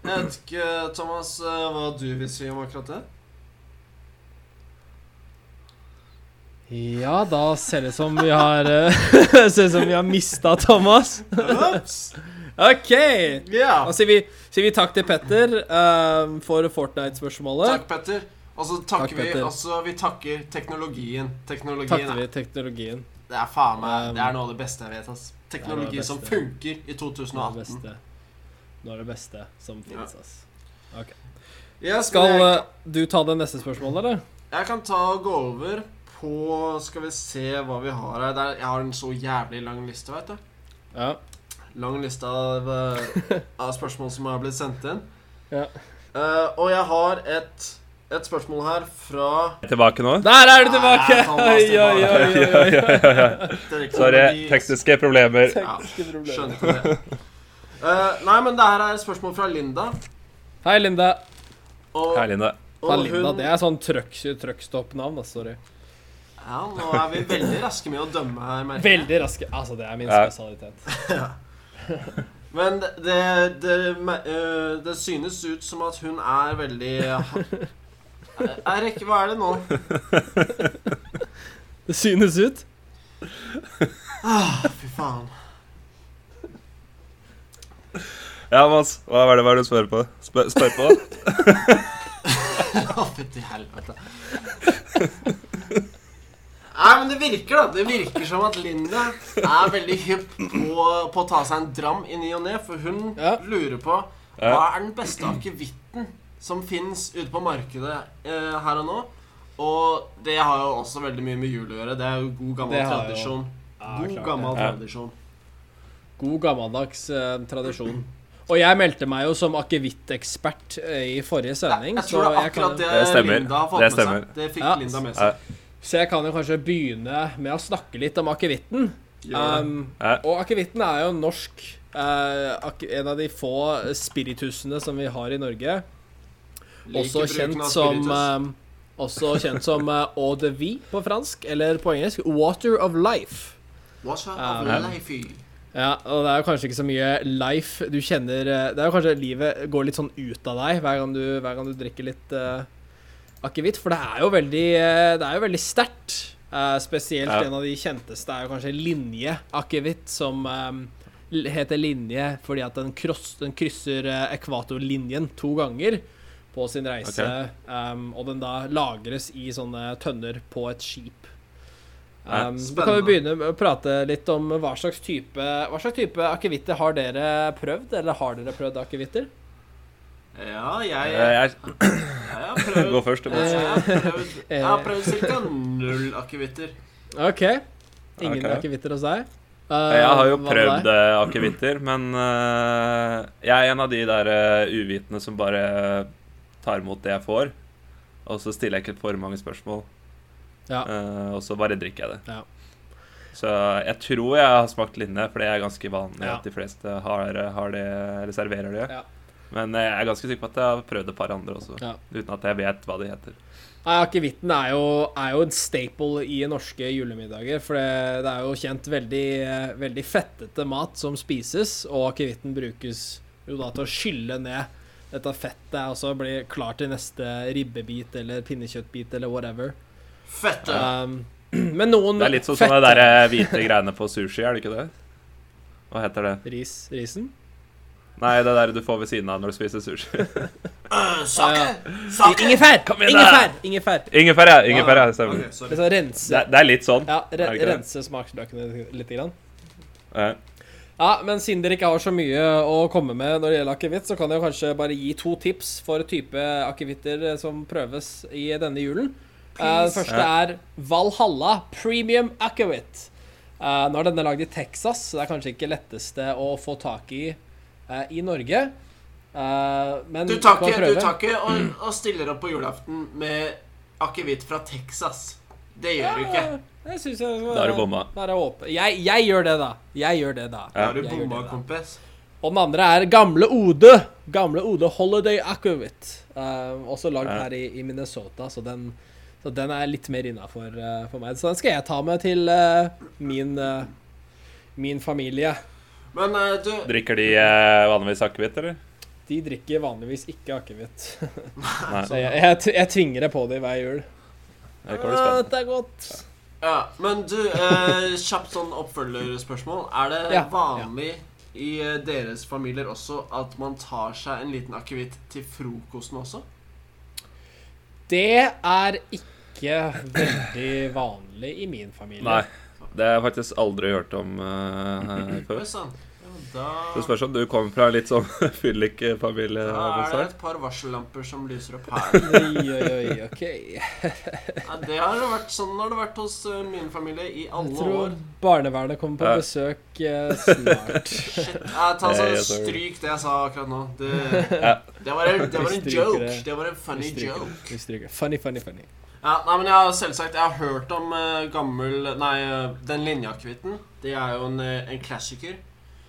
S1: Jeg vet ikke, Thomas, eh, hva du vil si om akkurat
S3: (laughs)
S1: det?
S3: Ja, da ser det som vi har eh, (laughs) Ser det som vi har mista Thomas.
S1: Ups!
S3: OK!
S1: Ja!
S3: Da sier vi, sier vi takk til Petter ehm, for Fortnite-spørsmålet.
S1: Takk, Petter. Og så takker
S3: Takk,
S1: vi
S3: Petter.
S1: Altså, vi takker teknologien. Teknologien
S3: Takket
S1: er,
S3: vi teknologien.
S1: det er faen meg
S3: Um,
S1: Det er noe av det beste jeg vet. ass Teknologi
S3: det er det
S1: som
S3: beste.
S1: funker i
S3: Noe av det
S1: 2018.
S3: beste, noe av det beste som finnes, ass.
S1: Jeg
S3: Skal
S1: jeg,
S3: eh, du ta det neste spørsmålet, eller?
S1: jeg kan ta og gå over på Skal vi se hva vi har her. Det er- Jeg har en så jævlig lang liste, vet du.
S3: Ja.
S1: lang liste av, eh, av spørsmål som har blitt sendt inn.
S3: Ja.
S1: Eh, og jeg har et, et spørsmål her fra
S4: Er jeg Tilbake nå?
S3: Der er du tilbake!
S1: Nei, Thomas,
S3: Oi, oi,
S1: (laughs)
S4: (laughs) Ja,
S3: oi,
S4: ja,
S3: oi, oi.
S4: ja, ja, ja.
S1: Teknologi-
S4: Sorry, tekniske problemer.
S3: Tekniske problemer.
S1: Skjønte det. Eh, nei, men det her er et spørsmål fra Linda.
S3: Hei, Linda.
S1: Og,
S4: Herlig, det.
S1: og
S3: Fra Linda,
S1: hun
S3: det er sånn trøkk- trøkkstopp-navn, da,
S1: (laughs)
S3: sorry.
S1: Ja, nå er vi veldig raske med å dømme her, merker jeg.
S3: Veldig raske. Altså, det er min
S4: Ja.
S3: spesialitet.
S1: Men det, det, me- eh, det synes ut som at hun er veldig
S3: (laughs)
S1: Erik, hva er det nå?
S3: Det synes ut.
S1: Ah, fy faen.
S4: Ja, Mads, hva er det, hva er det du spør på? Spør, spør på?
S1: Å, fytti helvete. Nei, men det virker, da. Det virker som at Linda er veldig hypp på, på å ta seg en dram i ny og ne, for hun
S3: Ja.
S1: lurer på hva
S4: Ja.
S1: er den beste akevitten som fins ute på markedet eh, her og nå. Og det har jo også veldig mye med jul å gjøre. Det er jo god gammel
S3: Det har jo-
S1: tradisjon.
S3: Ja,
S1: God
S3: klart
S1: gammel
S4: det. Ja.
S1: tradisjon.
S3: God gammeldags eh, tradisjon. Og jeg meldte meg jo som akevittekspert eh, i forrige
S1: Jeg,
S3: sending,
S1: jeg tror det er
S3: jeg kan,
S1: akkurat
S3: jo-
S1: det,
S4: Det stemmer.
S1: Linda har fått
S4: Det
S1: med
S4: stemmer.
S1: seg. Det fikk
S3: Ja.
S1: Linda med
S4: Ja.
S1: seg.
S3: så jeg kan jo kanskje begynne med å snakke litt om akevitten.
S1: Gjør det.
S3: Um,
S4: Ja.
S3: og akevitten er jo norsk eh, ak- En av de få spiritusene som vi har i Norge. Også
S1: Liker bruken
S3: kjent
S1: av
S3: som
S1: spiritus.
S3: eh, Også kjent som eh, eau de vie på fransk, eller på engelsk water of life.
S1: What's up,
S3: Ja.
S1: lifey?
S3: Ja, og det er jo kanskje ikke så mye life du kjenner eh, Det er jo kanskje livet går litt sånn ut av deg hver gang du, hver gang du drikker litt eh, akevitt, for det er jo veldig, eh, det er jo veldig sterkt. Eh, spesielt
S4: Ja.
S3: en av de kjenteste er jo kanskje linje akevitt, som eh, l- heter linje fordi at den, kross, den krysser eh, ekvatorlinjen to ganger på sin reise, em, og den da lagres i sånne tønner på et skip.
S4: Ja,
S3: Um, så kan vi begynne med å prate litt om hva slags type Hva slags type akevitter har dere prøvd, eller har dere prøvd akevitter?
S1: Ja, jeg,
S4: Eh, Jeg
S1: jeg har
S4: (laughs)
S1: prøvd Eh,
S4: går først. Mads.
S1: Jeg har prøvd, jeg
S3: Eh.
S1: har prøvd ca. null akevitter.
S3: OK. Ingen
S4: Ok.
S3: akevitter hos deg? Uh,
S4: Jeg har jo
S3: hva med
S4: prøvd
S3: deg?
S4: eh, akevitter, men eh, jeg er en av de der eh, uvitende som bare tar imot det jeg får. Og så stiller jeg ikke for mange spørsmål,
S3: Ja.
S4: eh, og så bare drikker jeg det.
S3: Ja.
S4: Så jeg tror jeg har smakt linje, for det er ganske vanlig
S3: Ja.
S4: at de fleste har, har det, eller serverer det.
S3: Ja.
S4: Men jeg er ganske sikker på at jeg har prøvd et par andre også,
S3: Ja.
S4: uten at jeg vet hva de heter.
S3: Nei, Akevitten er, jo- er jo en staple i norske julemiddager. For det, det er jo kjent veldig, eh, veldig fettete mat som spises, og akevitten brukes jo da til å skylle ned dette fettet. Altså blir klart til neste ribbebit eller pinnekjøttbit eller whatever.
S1: Fette!
S3: Um, (clears throat) men noen
S4: Det er litt sånn som de der hvite greiene på sushi, er det ikke det? Hva heter det?
S3: Ris, risen?
S4: Nei, det der du får ved siden av når du spiser sushi. (laughs)
S1: Øh,
S3: Ja,
S1: sake!
S3: ja.
S1: Sake!
S3: Ingefær!
S4: Kom igjen, da!
S3: Ingefær! ingefær.
S4: Ingefær, ja. Ingefær, ja.
S1: Ok,
S4: Stemmer.
S3: Det
S1: sorry.
S3: er sånn rense
S4: Det, det er litt sånn.
S3: Ja, re
S4: Er det ikke det?
S3: rense smaksløkene litt. Grann.
S4: Ja.
S3: Ja, men siden dere ikke har så mye å komme med når det gjelder akevitt, så kan jeg kanskje bare gi to tips for type akevitter eh, som prøves i denne julen. Eh, Den første er Valhalla Premium Akevitt. Eh, nå er denne lagd i Texas, så det er kanskje ikke letteste å få tak i eh, i Norge. Eh, men
S1: Du tar
S3: kan
S1: ikke, du
S3: prøve.
S1: tar ikke og, og stiller opp på julaften med akevitt fra Texas. Det gjør du ikke.
S3: Ja, jeg synes jeg,
S4: Da er du bomma.
S3: Da er jeg, åpen. jeg, jeg gjør det, da. Jeg gjør det, da.
S1: Da har du
S3: Jeg gjør
S1: bomma,
S3: det, da.
S1: kompis.
S3: Og den andre er Gamle Ode. Gamle Ode Holiday Aquavit. Eh, også lagd
S4: Ja.
S3: her i, i Minnesota, så den, så den er litt mer innafor eh, for meg. Så den skal jeg ta med til eh, min, eh, min familie.
S1: Men eh, du
S4: Drikker de eh, vanligvis akevitt, eller?
S3: De drikker vanligvis ikke akevitt.
S4: Nei.
S3: (laughs) Så jeg, jeg, tv- jeg tvinger det på dem hver jul.
S4: Det kan bli
S3: Ja,
S4: spennende.
S3: dette er godt.
S1: (laughs) Ja, men du, eh, kjapt sånn oppfølgerspørsmål. Er det
S3: Ja,
S1: vanlig i eh, deres familier også at man tar seg en liten akevitt til frokosten også?
S3: Det er ikke veldig vanlig i min familie.
S4: Nei. Det har jeg faktisk aldri hørt om eh,
S1: Oi
S4: før.
S1: sann. Ja,
S4: Det
S1: da,
S4: spørs om du kommer fra en litt sånn (laughs)
S1: da
S4: fyllikfamilie.
S1: er det
S4: Mozart.
S1: et par varsellamper som lyser opp her.
S3: Oi, oi, oi, OK.
S1: Ja, det har det vært, sånn har det vært hos eh, min familie i
S3: Jeg
S1: alle
S3: tror
S1: år.
S3: barnevernet kommer på
S4: Ja.
S3: besøk eh, snart.
S1: Shit. Ja, ta så
S4: Nei, jeg tror-
S1: Stryk det jeg sa akkurat nå. Det,
S4: Ja.
S1: det, var, en, det var en
S3: Vi stryker
S1: joke.
S3: det.
S1: Det var en (laughs) funny
S3: Vi stryker
S1: joke.
S3: det. Vi stryker. Funny, funny, funny.
S1: Ja, nei, men jeg har selvsagt Jeg har hørt om eh, gammel Nei, eh, den linjakevitten. Det er jo en, eh, en klassiker.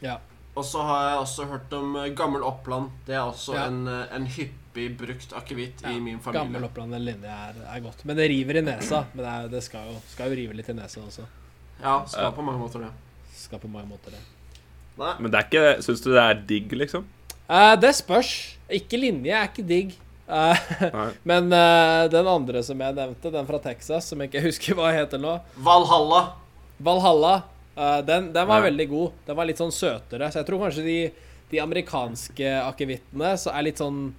S3: Ja.
S1: Og så har jeg også hørt om eh, gammel Oppland. Det er også
S3: Ja.
S1: en, eh, en hyppig brukt akevitt
S3: Ja,
S1: i min
S3: Gammel
S1: familie.
S3: Oppland en linje er, er godt. Men det river i nesa. Men det, er, det skal, jo, skal jo rive litt i nesa også.
S1: Ja, skal
S4: Ja.
S1: på mange måter det.
S3: Skal på mange måter det.
S1: Nei.
S4: Men det er ikke Syns du det er digg, liksom?
S3: Eh, det spørs. Ikke linje er ikke digg. Eh, (laughs)
S4: Nei.
S3: men eh, den andre som jeg nevnte, den fra Texas, som jeg ikke husker hva heter nå,
S1: Valhalla.
S3: Valhalla, eh, den, den var
S4: Ja.
S3: veldig god. Den var litt sånn søtere. Så jeg tror kanskje de, de amerikanske akevittene så er litt sånn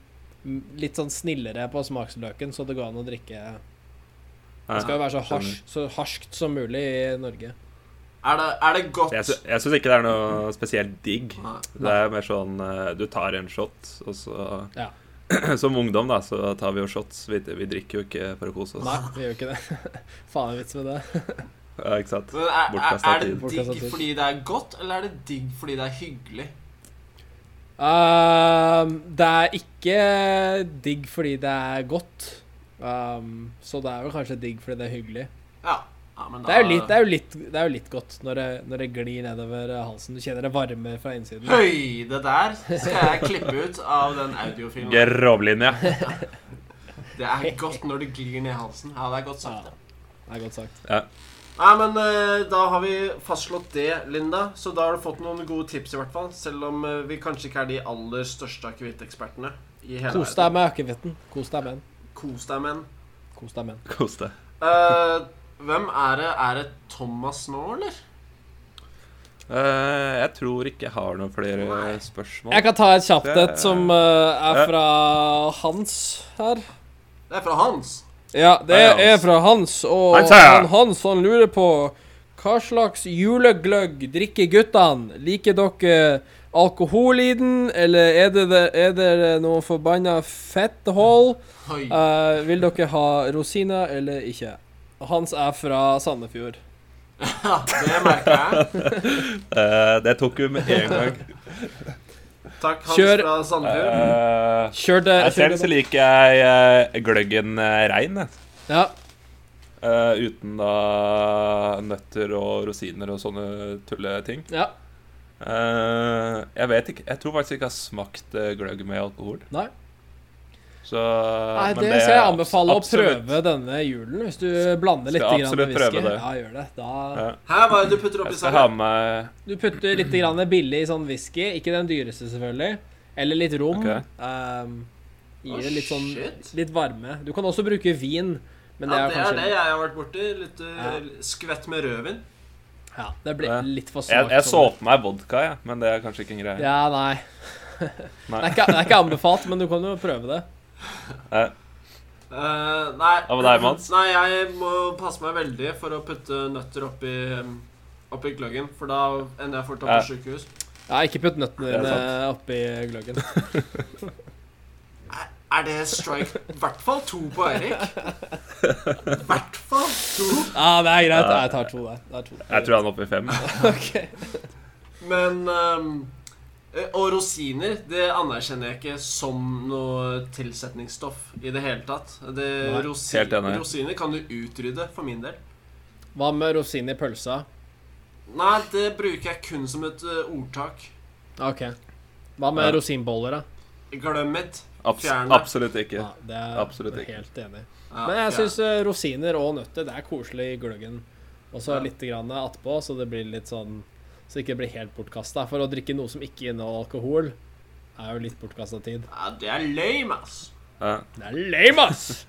S3: Litt sånn snillere på smaksløken, så det går an å drikke
S4: Nei.
S3: Det skal jo være så, hars,
S4: skjønner.
S3: så harskt som mulig i Norge.
S1: Er det, er det godt
S4: Jeg, sy- jeg syns ikke det er noe spesielt digg.
S1: Nei.
S4: Det er mer sånn eh, Du tar en shot, og så
S3: Ja.
S4: (clears throat) Som ungdom, da, så tar vi jo shots. Vi, vi drikker jo ikke for å kose oss.
S3: Nei, vi gjør jo ikke det. (laughs) Faen en vits med det.
S4: Ja, ikke sant?
S1: Men er, er,
S4: Bortkastet
S1: er
S4: tid.
S1: det
S3: Bortkastet
S1: digg
S3: tid.
S1: fordi det er godt, eller er det digg fordi det er hyggelig?
S3: Um, det er ikke digg fordi det er godt. Um, så det er jo kanskje digg fordi det er hyggelig.
S1: Ja. ja men da,
S4: Ah.
S3: Det er jo litt, det er jo litt, det er jo litt godt når det, når det glir nedover halsen. Du kjenner det varmer fra
S4: (laughs)
S3: innsiden.
S1: Høy, det der skal jeg klippe ut av den audiofilen.
S4: Grovlinje. (laughs)
S1: Det er godt når det glir ned i halsen. Ja, det er godt sagt.
S3: Ja. Det er godt sagt.
S1: Nei, men eh, da har vi fastslått det, Linda. Så da har du fått noen gode tips, i hvert fall. Selv om eh, vi kanskje ikke er de aller største akevittekspertene i hele
S3: Kos deg med akevitten. Kos deg med den.
S1: Kos deg, menn.
S3: Kos deg med den.
S4: Kos deg.
S1: Eh, hvem er det? Er det Thomas nå, eller?
S4: Eh, jeg tror ikke jeg har noen flere
S1: Nei.
S4: spørsmål.
S3: Jeg kan ta et kjapt
S4: Det er-
S3: et som eh, er
S4: Ja.
S3: fra Hans her.
S1: Det er fra Hans.
S3: Ja, det
S4: Hei, Hans.
S3: er fra Hans, og
S4: Hans her.
S3: han Hans han lurer på hva slags julegløgg drikker guttene? Liker dere alkohol i den, eller er det, det, er det noe forbanna fetthold?
S1: Oi.
S3: Eh, vil dere ha rosiner eller ikke? Hans er fra Sandefjord.
S1: Ja, det merker jeg.
S4: Eh, det tok vi med en gang.
S1: Takk, Hans
S3: Kjør.
S1: fra Sandefjord.
S4: Eh,
S3: Kjør det.
S4: jeg
S3: Kjør
S4: selv
S3: det.
S4: så liker jeg eh, gløggen eh, rein. jeg.
S3: Ja.
S4: Eh, uten da nøtter og rosiner og sånne tulleting.
S3: ja.
S4: Eh, jeg vet ikke Jeg tror faktisk ikke jeg har smakt eh, gløgg med alkohol.
S3: Nei.
S4: Så
S3: Nei,
S4: men
S3: det skal jeg anbefale
S4: absolutt.
S3: å prøve denne julen, hvis du blander litt
S4: Skal
S3: grann med
S4: absolutt prøve
S3: whisky.
S4: det.
S3: Ja, gjør det. Da
S4: Ja.
S1: Her, hva er det du putter oppi
S4: Jeg skal ha
S1: seg?
S4: med meg
S3: Du putter litt grann billig sånn whisky, ikke den dyreste selvfølgelig, eller litt rom.
S4: Ok.
S3: Ehm, gir
S1: Å,
S3: det litt sånn
S1: shit.
S3: litt varme. Du kan også bruke vin, men det
S1: Ja,
S3: er
S1: det er
S3: kanskje
S1: det jeg har vært borti. Litt eh, skvett med rødvin.
S3: Ja, det blir
S4: Ja.
S3: litt for svakt.
S4: Jeg, jeg så
S3: sånn.
S4: på meg vodka, jeg, men det er kanskje ikke en greie.
S3: Ja, nei. (laughs) Det er, ikke, det er ikke anbefalt, men du kan jo prøve det.
S1: Eh, nei.
S4: Hva med deg, Mats?
S1: Nei, jeg må passe meg veldig for å putte nøtter oppi, um, oppi gløggen, for da ender jeg fort opp på sykehus.
S3: Ja, ikke putt nøttene
S4: Det er
S3: dine oppi gløggen.
S1: Er det strike i hvert fall to på Eirik? I hvert fall to.
S3: Ja, det er greit. Jeg tar to der. Det er to.
S4: Jeg tror han er oppe i fem.
S3: Ok.
S1: Men ehm, eh, Og rosiner det anerkjenner jeg ikke som noe tilsetningsstoff i det hele tatt. Det,
S3: Nei,
S1: rosi-
S4: helt enig.
S1: Rosiner kan du utrydde, for min del.
S3: Hva med rosin i pølsa?
S1: Nei, det bruker jeg kun som et eh, ordtak.
S3: OK. Hva med
S4: Ja.
S3: rosinboller, da?
S1: Glem it.
S4: Abs
S1: Fjern det.
S4: absolutt ikke.
S3: Ja, det er
S4: Absolutt ikke.
S3: helt enig i.
S1: Ja,
S3: Men jeg
S1: fjern.
S3: syns rosiner og nøtter det er koselig i gløggen. Og så
S1: Ja.
S3: litt grann attpå, så det blir litt sånn Så det ikke blir helt bortkasta. For å drikke noe som ikke inneholder alkohol, er jo litt bortkasta tid.
S1: ja, Det er lame, ass.
S4: Ja.
S3: Det er lame, ass!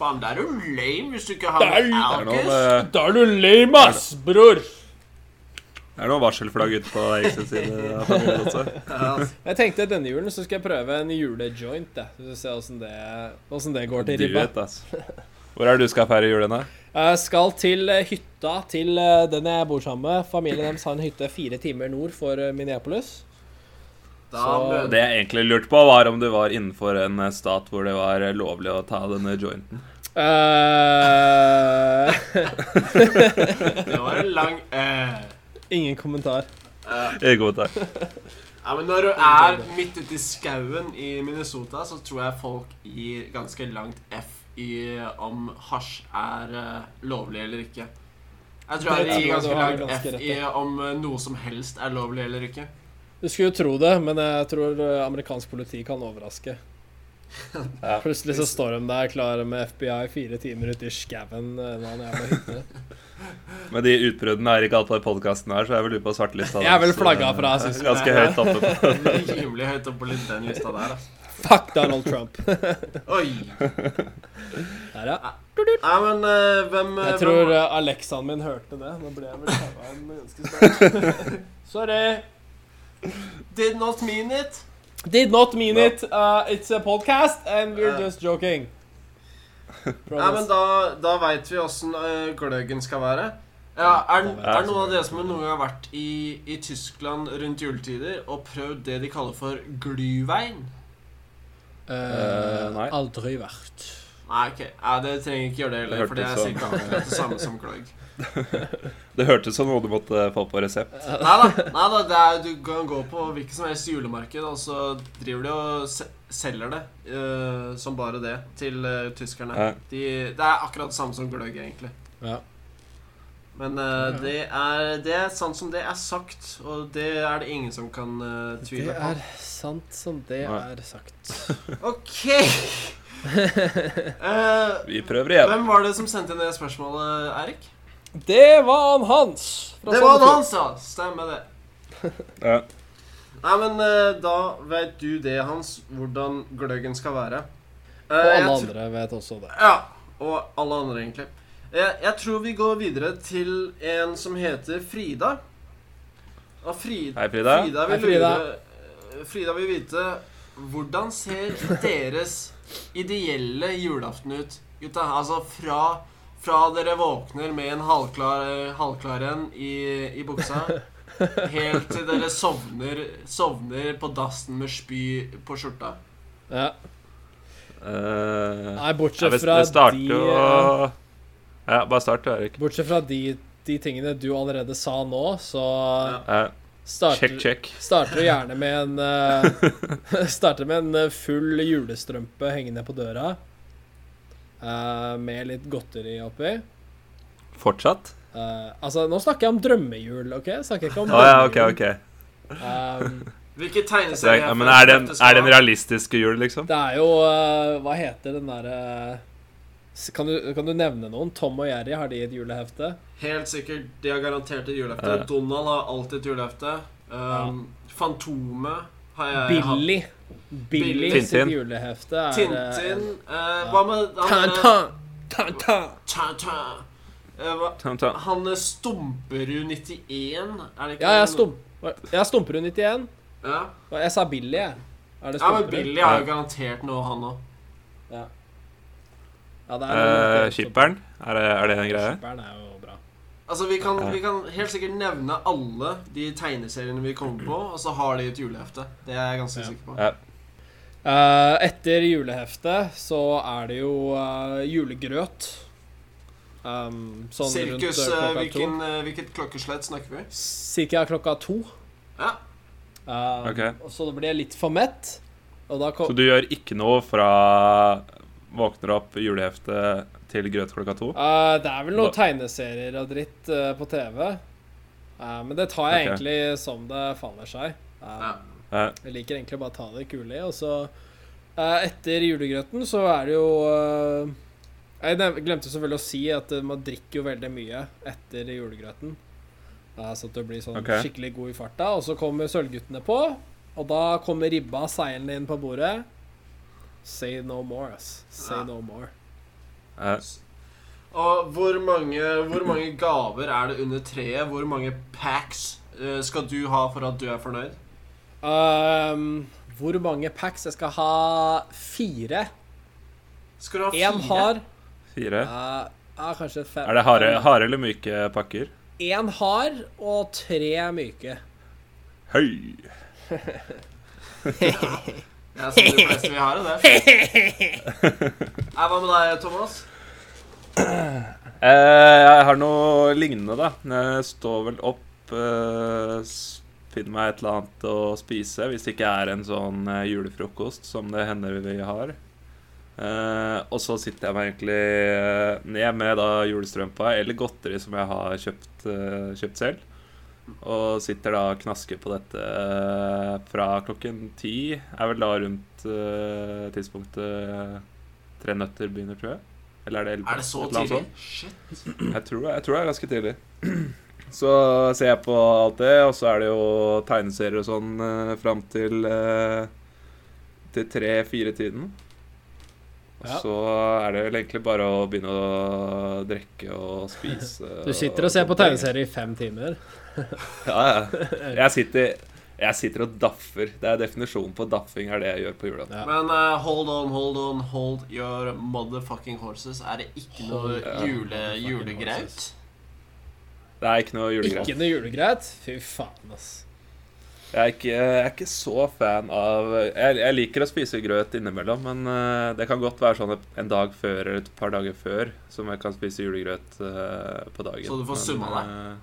S1: Faen, det er jo lame hvis du ikke
S3: Det
S1: har
S3: er-
S1: noe
S4: Det er noen,
S1: alkis.
S4: eh,
S3: Da er du lame, ass, bror!
S4: det er noen varselflagg ute på Erik sin side av familien også.
S1: Ja, ass.
S3: Jeg tenkte denne julen så skal jeg prøve en julejoint. jeg. Så skal vi se åssen det, hvordan det går til
S4: Du
S3: ribba.
S4: vet, ass. Hvor er det du skal feire julen, da?
S3: Jeg skal til eh, hytta til eh, den jeg bor sammen med. Familien deres har en hytte fire timer nord for eh, Minneapolis.
S1: Da
S3: Så-
S1: møter
S4: Det jeg egentlig lurte på, var om du var innenfor en eh, stat hvor det var eh, lovlig å ta denne (laughs) jointen.
S3: Eh, (laughs)
S1: Det var en lang eh.
S3: ingen kommentar.
S1: eh.
S4: Eh, God takk.
S1: Ja, men Når du er midt ute i skauen i Minnesota, så tror jeg folk gir ganske langt F i om hasj er eh, lovlig eller ikke. Jeg tror jeg
S3: Det
S1: de
S3: tror jeg
S1: gir
S3: du
S1: ganske
S3: har
S1: langt
S3: ganske
S1: F
S3: rett
S1: i
S3: i.
S1: om eh, noe som helst er lovlig eller
S3: (laughs)
S1: ikke.
S3: Du skulle jo tro det, men jeg tror eh, amerikansk politi kan overraske.
S4: Ja.
S3: Plutselig så står de der klare med FBI fire timer ute i skauen. eh, når han er på hytte.
S4: Med de utbruddene Erik har hatt på podkasten her, så er vel du på svartelista.
S3: Jeg er vel
S4: hans, så
S3: flagga
S4: det er
S3: fra, synes jeg.
S4: Ganske høyt oppe. på-
S1: Rimelig høyt oppe på litt den lista der. Altså.
S3: Fuck Donald Trump.
S1: Oi!
S3: Der, ja.
S1: Nei, men eh, hvem eh,
S3: Jeg tror
S1: hvem,
S3: eh, Alexaen min hørte det. Nå ble jeg vel taua en ganske snart. Sorry.
S1: Did not mean it.
S3: Did not mean
S4: Ja.
S3: it. Uh, it's a podcast, and we're
S1: Ja.
S4: Uh. (laughs)
S3: just joking.
S1: Nei, men da, da veit vi åssen eh, gløggen skal være. Ja, er,
S4: Ja.
S1: er noen av dere som noen gang har vært i, i Tyskland rundt juletider og prøvd det de kaller for glühwein?
S4: Eh, nei.
S3: Aldri vært.
S1: Nei, ok. Nei, dere trenger ikke gjøre det heller,
S4: Det
S1: for det er
S4: hørtes sånn.
S1: sikkert akkurat det
S4: (laughs)
S1: samme som gløgg.
S4: Det hørtes ut som noe du måtte eh, få på resept.
S1: Nei da, nei da det er, du kan gå på hvilket som helst julemarked, og så driver de og se- selger det eh, som bare det til eh, tyskerne.
S4: Ja.
S1: De, det er akkurat det samme som gløgg, egentlig.
S3: Ja.
S1: Men eh, det, er, det er sant som det er sagt, og det er det ingen som kan eh,
S3: Det
S1: tvile
S3: er sant som det
S4: Nei.
S3: er sagt.
S1: på. OK! (laughs) Eh,
S4: Vi prøver igjen.
S1: hvem var det som sendte inn det spørsmålet, Eirik?
S3: (laughs) Det var han Hans. fra
S1: Det var han,
S3: Sandefjord.
S1: ja! Stemmer det.
S4: Ja.
S1: Nei, men eh, da vet du det, Hans, hvordan gløggen skal være. Eh,
S3: Og
S1: jeg
S3: alle
S1: tr-
S3: andre vet også det.
S1: Ja. Og alle andre, egentlig. Jeg, jeg tror vi går videre til en som heter Frida. Og Frida
S4: Hei, Frida.
S1: Frida vil,
S3: Hei, Frida.
S1: Lure, Frida vil vite hvordan ser deres ideelle julaften ut? Gutta, altså fra, fra dere våkner med en halvklar, halvklar en i, i buksa, helt til dere sovner, sovner på dassen med spy på skjorta.
S3: Ja.
S4: Eh,
S3: Nei,
S4: ja,
S3: bortsett
S4: vi,
S3: fra
S4: vi starter
S3: de
S4: jo
S3: eh,
S4: Ja, bare start, du, Erik.
S3: Bortsett fra de, de tingene du allerede sa nå, så
S4: Ja,
S3: starter,
S4: Check, check.
S3: starter du gjerne med en eh, (laughs) Starter med en eh, full julestrømpe hengende på døra. eh, med litt godteri oppi. (laughs)
S4: Fortsatt?
S3: Eh, altså, nå snakker jeg om drømmejul, OK? Jeg snakker ikke om
S4: Å ja, OK,
S3: barnejul.
S4: OK.
S3: (laughs) Um,
S1: Hvilke
S4: Så,
S1: tegneserier
S4: ja, men er det, en, er det en realistisk jul, liksom?
S3: det er jo eh, Hva heter den derre kan, du- kan du nevne noen? Tom og Jerry, har de et julehefte?
S1: Helt sikkert. De har garantert et julehefte.
S4: Ja.
S1: Donald har alltid et julehefte. Um, Fantomet har Eh, jeg
S3: Billy. Billy
S1: Billy.
S3: sitt
S4: Tintin.
S3: julehefte er
S1: hatt.
S3: eh,
S1: Tintin. eh, Hva med han derre
S3: Tintin. Tintin.
S1: Tintin. Eh, hva-
S4: Tom, tom.
S1: Han eh, Stumperud 91, er det ikke
S3: Ja, jeg,
S1: han?
S3: stum, jeg stumper hun 91.
S1: Ja.
S3: Og Jeg sa Billy, jeg. Er det
S1: Ja, men
S3: stolper?
S1: Billy er jo garantert noe, han òg.
S3: Ja, det
S4: Eh,
S3: er altså.
S4: Skipperen, er, det- er det en greie?
S3: Skipperen er jo bra.
S1: Altså, vi kan, vi kan helt sikkert nevne alle de tegneseriene vi kommer på, og så har de et julehefte. Det er jeg ganske
S3: Ja.
S1: sikker på.
S4: Ja.
S3: Eh, etter juleheftet så er det jo eh, julegrøt. Um, sånn
S1: Sirkus,
S3: rundt eh,
S1: eh,
S3: klokka
S1: hvilken, eh, hvilket klokkeslett snakker vi?
S3: to. Cirka klokka to.
S1: Ja.
S3: Eh,
S4: Ok.
S3: og Så da blir jeg litt for mett. Og da
S4: Så
S3: kom
S4: du gjør ikke noe fra våkner opp julehefte til grøt klokka to?
S3: Eh, Det er vel noen tegneserier og dritt eh, på TV. Eh, men det tar jeg
S4: Ok.
S3: egentlig som det faller seg. Eh,
S1: Ja.
S4: Eh,
S3: Jeg liker egentlig bare å ta det kule i, og så eh, Etter julegrøten så er det jo eh, Jeg nev- glemte selvfølgelig å si at eh, man drikker jo veldig mye etter julegrøten. Eh, så at du blir sånn
S4: Ok.
S3: skikkelig god i farta. Og så kommer Sølvguttene på, og da kommer ribba seilende inn på bordet. Say no more, ass. Say
S1: Ja.
S3: no more.
S4: eh,
S1: Og hvor mange, hvor mange gaver er det under treet? Hvor mange packs eh, skal du ha for at du er fornøyd?
S3: Ehm, hvor mange packs? Jeg skal ha fire.
S1: Skal du ha
S3: Én
S1: fire?
S3: har.
S4: fire.
S3: eh, ja, kanskje fem.
S4: Er det harde, harde eller myke pakker?
S3: Én hard og tre myke.
S4: Høy!
S1: Det er sånn de fleste vi har det. Nei,
S4: (laughs)
S1: hva med deg, Thomas?
S4: Eh, jeg har noe lignende, da. Jeg står vel opp, eh, s- finner meg et eller annet å spise, hvis det ikke er en sånn eh, julefrokost som det hender vi har. Eh, og så sitter jeg meg egentlig eh, ned med da julestrømpa eller godteri som jeg har kjøpt, eh, kjøpt selv. Og sitter da og knasker på dette eh, fra klokken ti. Er vel da rundt eh, tidspunktet eh, tre nøtter begynner, tror jeg. Eller er det elleve?
S1: Er det så
S4: Et eller annet
S1: tidlig?
S4: sånt.
S1: Shit.
S4: Jeg tror, det- jeg tror det er ganske tidlig. (clears throat) Så ser jeg på alt det, og så er det jo tegneserier og sånn eh, fram til eh, til tre-fire-tiden. Og
S3: Ja.
S4: så er det vel egentlig bare å begynne å drikke og spise.
S3: (laughs) Du sitter og ser på tegneserie i fem timer.
S4: Ja, ja.
S3: (laughs)
S4: Jeg sitter, jeg sitter og daffer. Det er definisjonen på daffing er det jeg gjør på julaften.
S3: Ja.
S1: Men eh, hold on, hold on, hold your motherfucking horses. Er det ikke noe
S3: Hold
S4: your
S1: jule,
S3: motherfucking
S1: julegraut?
S3: horses.
S4: Det er ikke noe julegreit.
S3: Ikke noe julegreit? Fy faen, ass.
S4: Jeg er ikke, jeg er ikke så fan av jeg, jeg liker å spise grøt innimellom, men eh, det kan godt være sånn et- en dag før eller et par dager før som jeg kan spise julegrøt eh, på dagen.
S1: Så du får
S4: Men,
S1: summa deg?
S4: eh,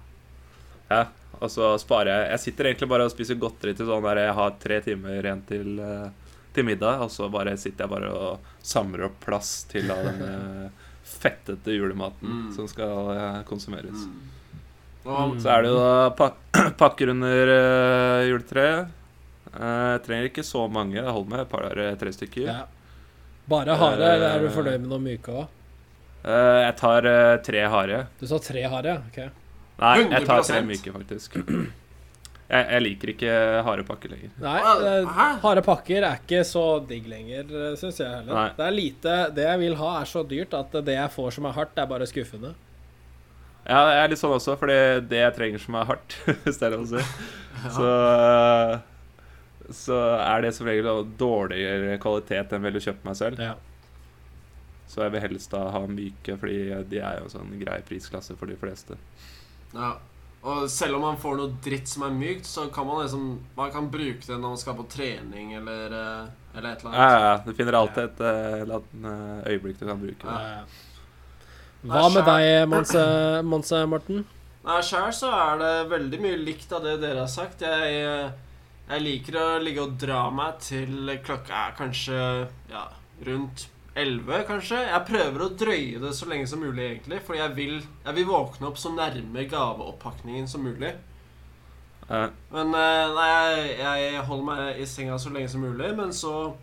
S4: ja. Og så sparer jeg Jeg sitter egentlig bare og spiser godteri til sånn der jeg har tre timer igjen til, eh, til middag, og så bare sitter jeg bare og samler opp plass til da den eh, fettete julematen
S1: Mm.
S4: som skal eh, konsumeres.
S1: Mm. Og
S3: Mm.
S4: Så er det jo da pak (clears throat) pakker under eh, juletreet. Eh, jeg trenger ikke så mange. Det holder med et par-tre stykker.
S3: Ja. Bare harde, eller er du fornøyd med noe myke òg?
S4: Eh, jeg tar eh, tre harde.
S3: Du sa tre harde, ja? OK.
S4: Nei, jeg tar
S1: 100%.
S4: tre myke, faktisk. (clears throat) Jeg, jeg liker ikke harde pakker lenger.
S3: Nei,
S1: Hva-
S3: eh,
S1: hæ?
S3: harde pakker er ikke så digg lenger, syns jeg heller.
S4: Nei.
S3: Det er lite Det jeg vil ha, er så dyrt at det jeg får som er hardt, er bare skuffende.
S4: Ja, jeg er litt sånn også, fordi det jeg trenger som er hardt, (laughs) hvis det er lov å si, så, eh, så er det som regel da dårligere kvalitet enn vil du kjøpe meg selv.
S3: Ja.
S4: Så jeg vil helst da ha myke, fordi de er jo en sånn grei prisklasse for de fleste.
S1: Ja. Og selv om man får noe dritt som er mykt, så kan man liksom Man kan bruke det når man skal på trening eller, eh, eller et eller
S4: Ja,
S1: annet.
S4: ja, ja. Du finner alltid et eh, la- eh, øyeblikk du kan bruke.
S3: Ja.
S4: da.
S3: ja. Hva med deg, Monse, Monse Morten?
S1: Nei, sjøl så er det veldig mye likt av det dere har sagt. Jeg, eh, jeg liker å ligge og dra meg til klokka er kanskje ja, rundt 11, kanskje. Jeg prøver å drøye det så lenge som mulig, egentlig. For jeg vil, jeg vil våkne opp så nærme gaveoppakningen som mulig.
S4: Eh,
S1: Men eh, nei, jeg, jeg holder meg i senga så lenge som mulig, men så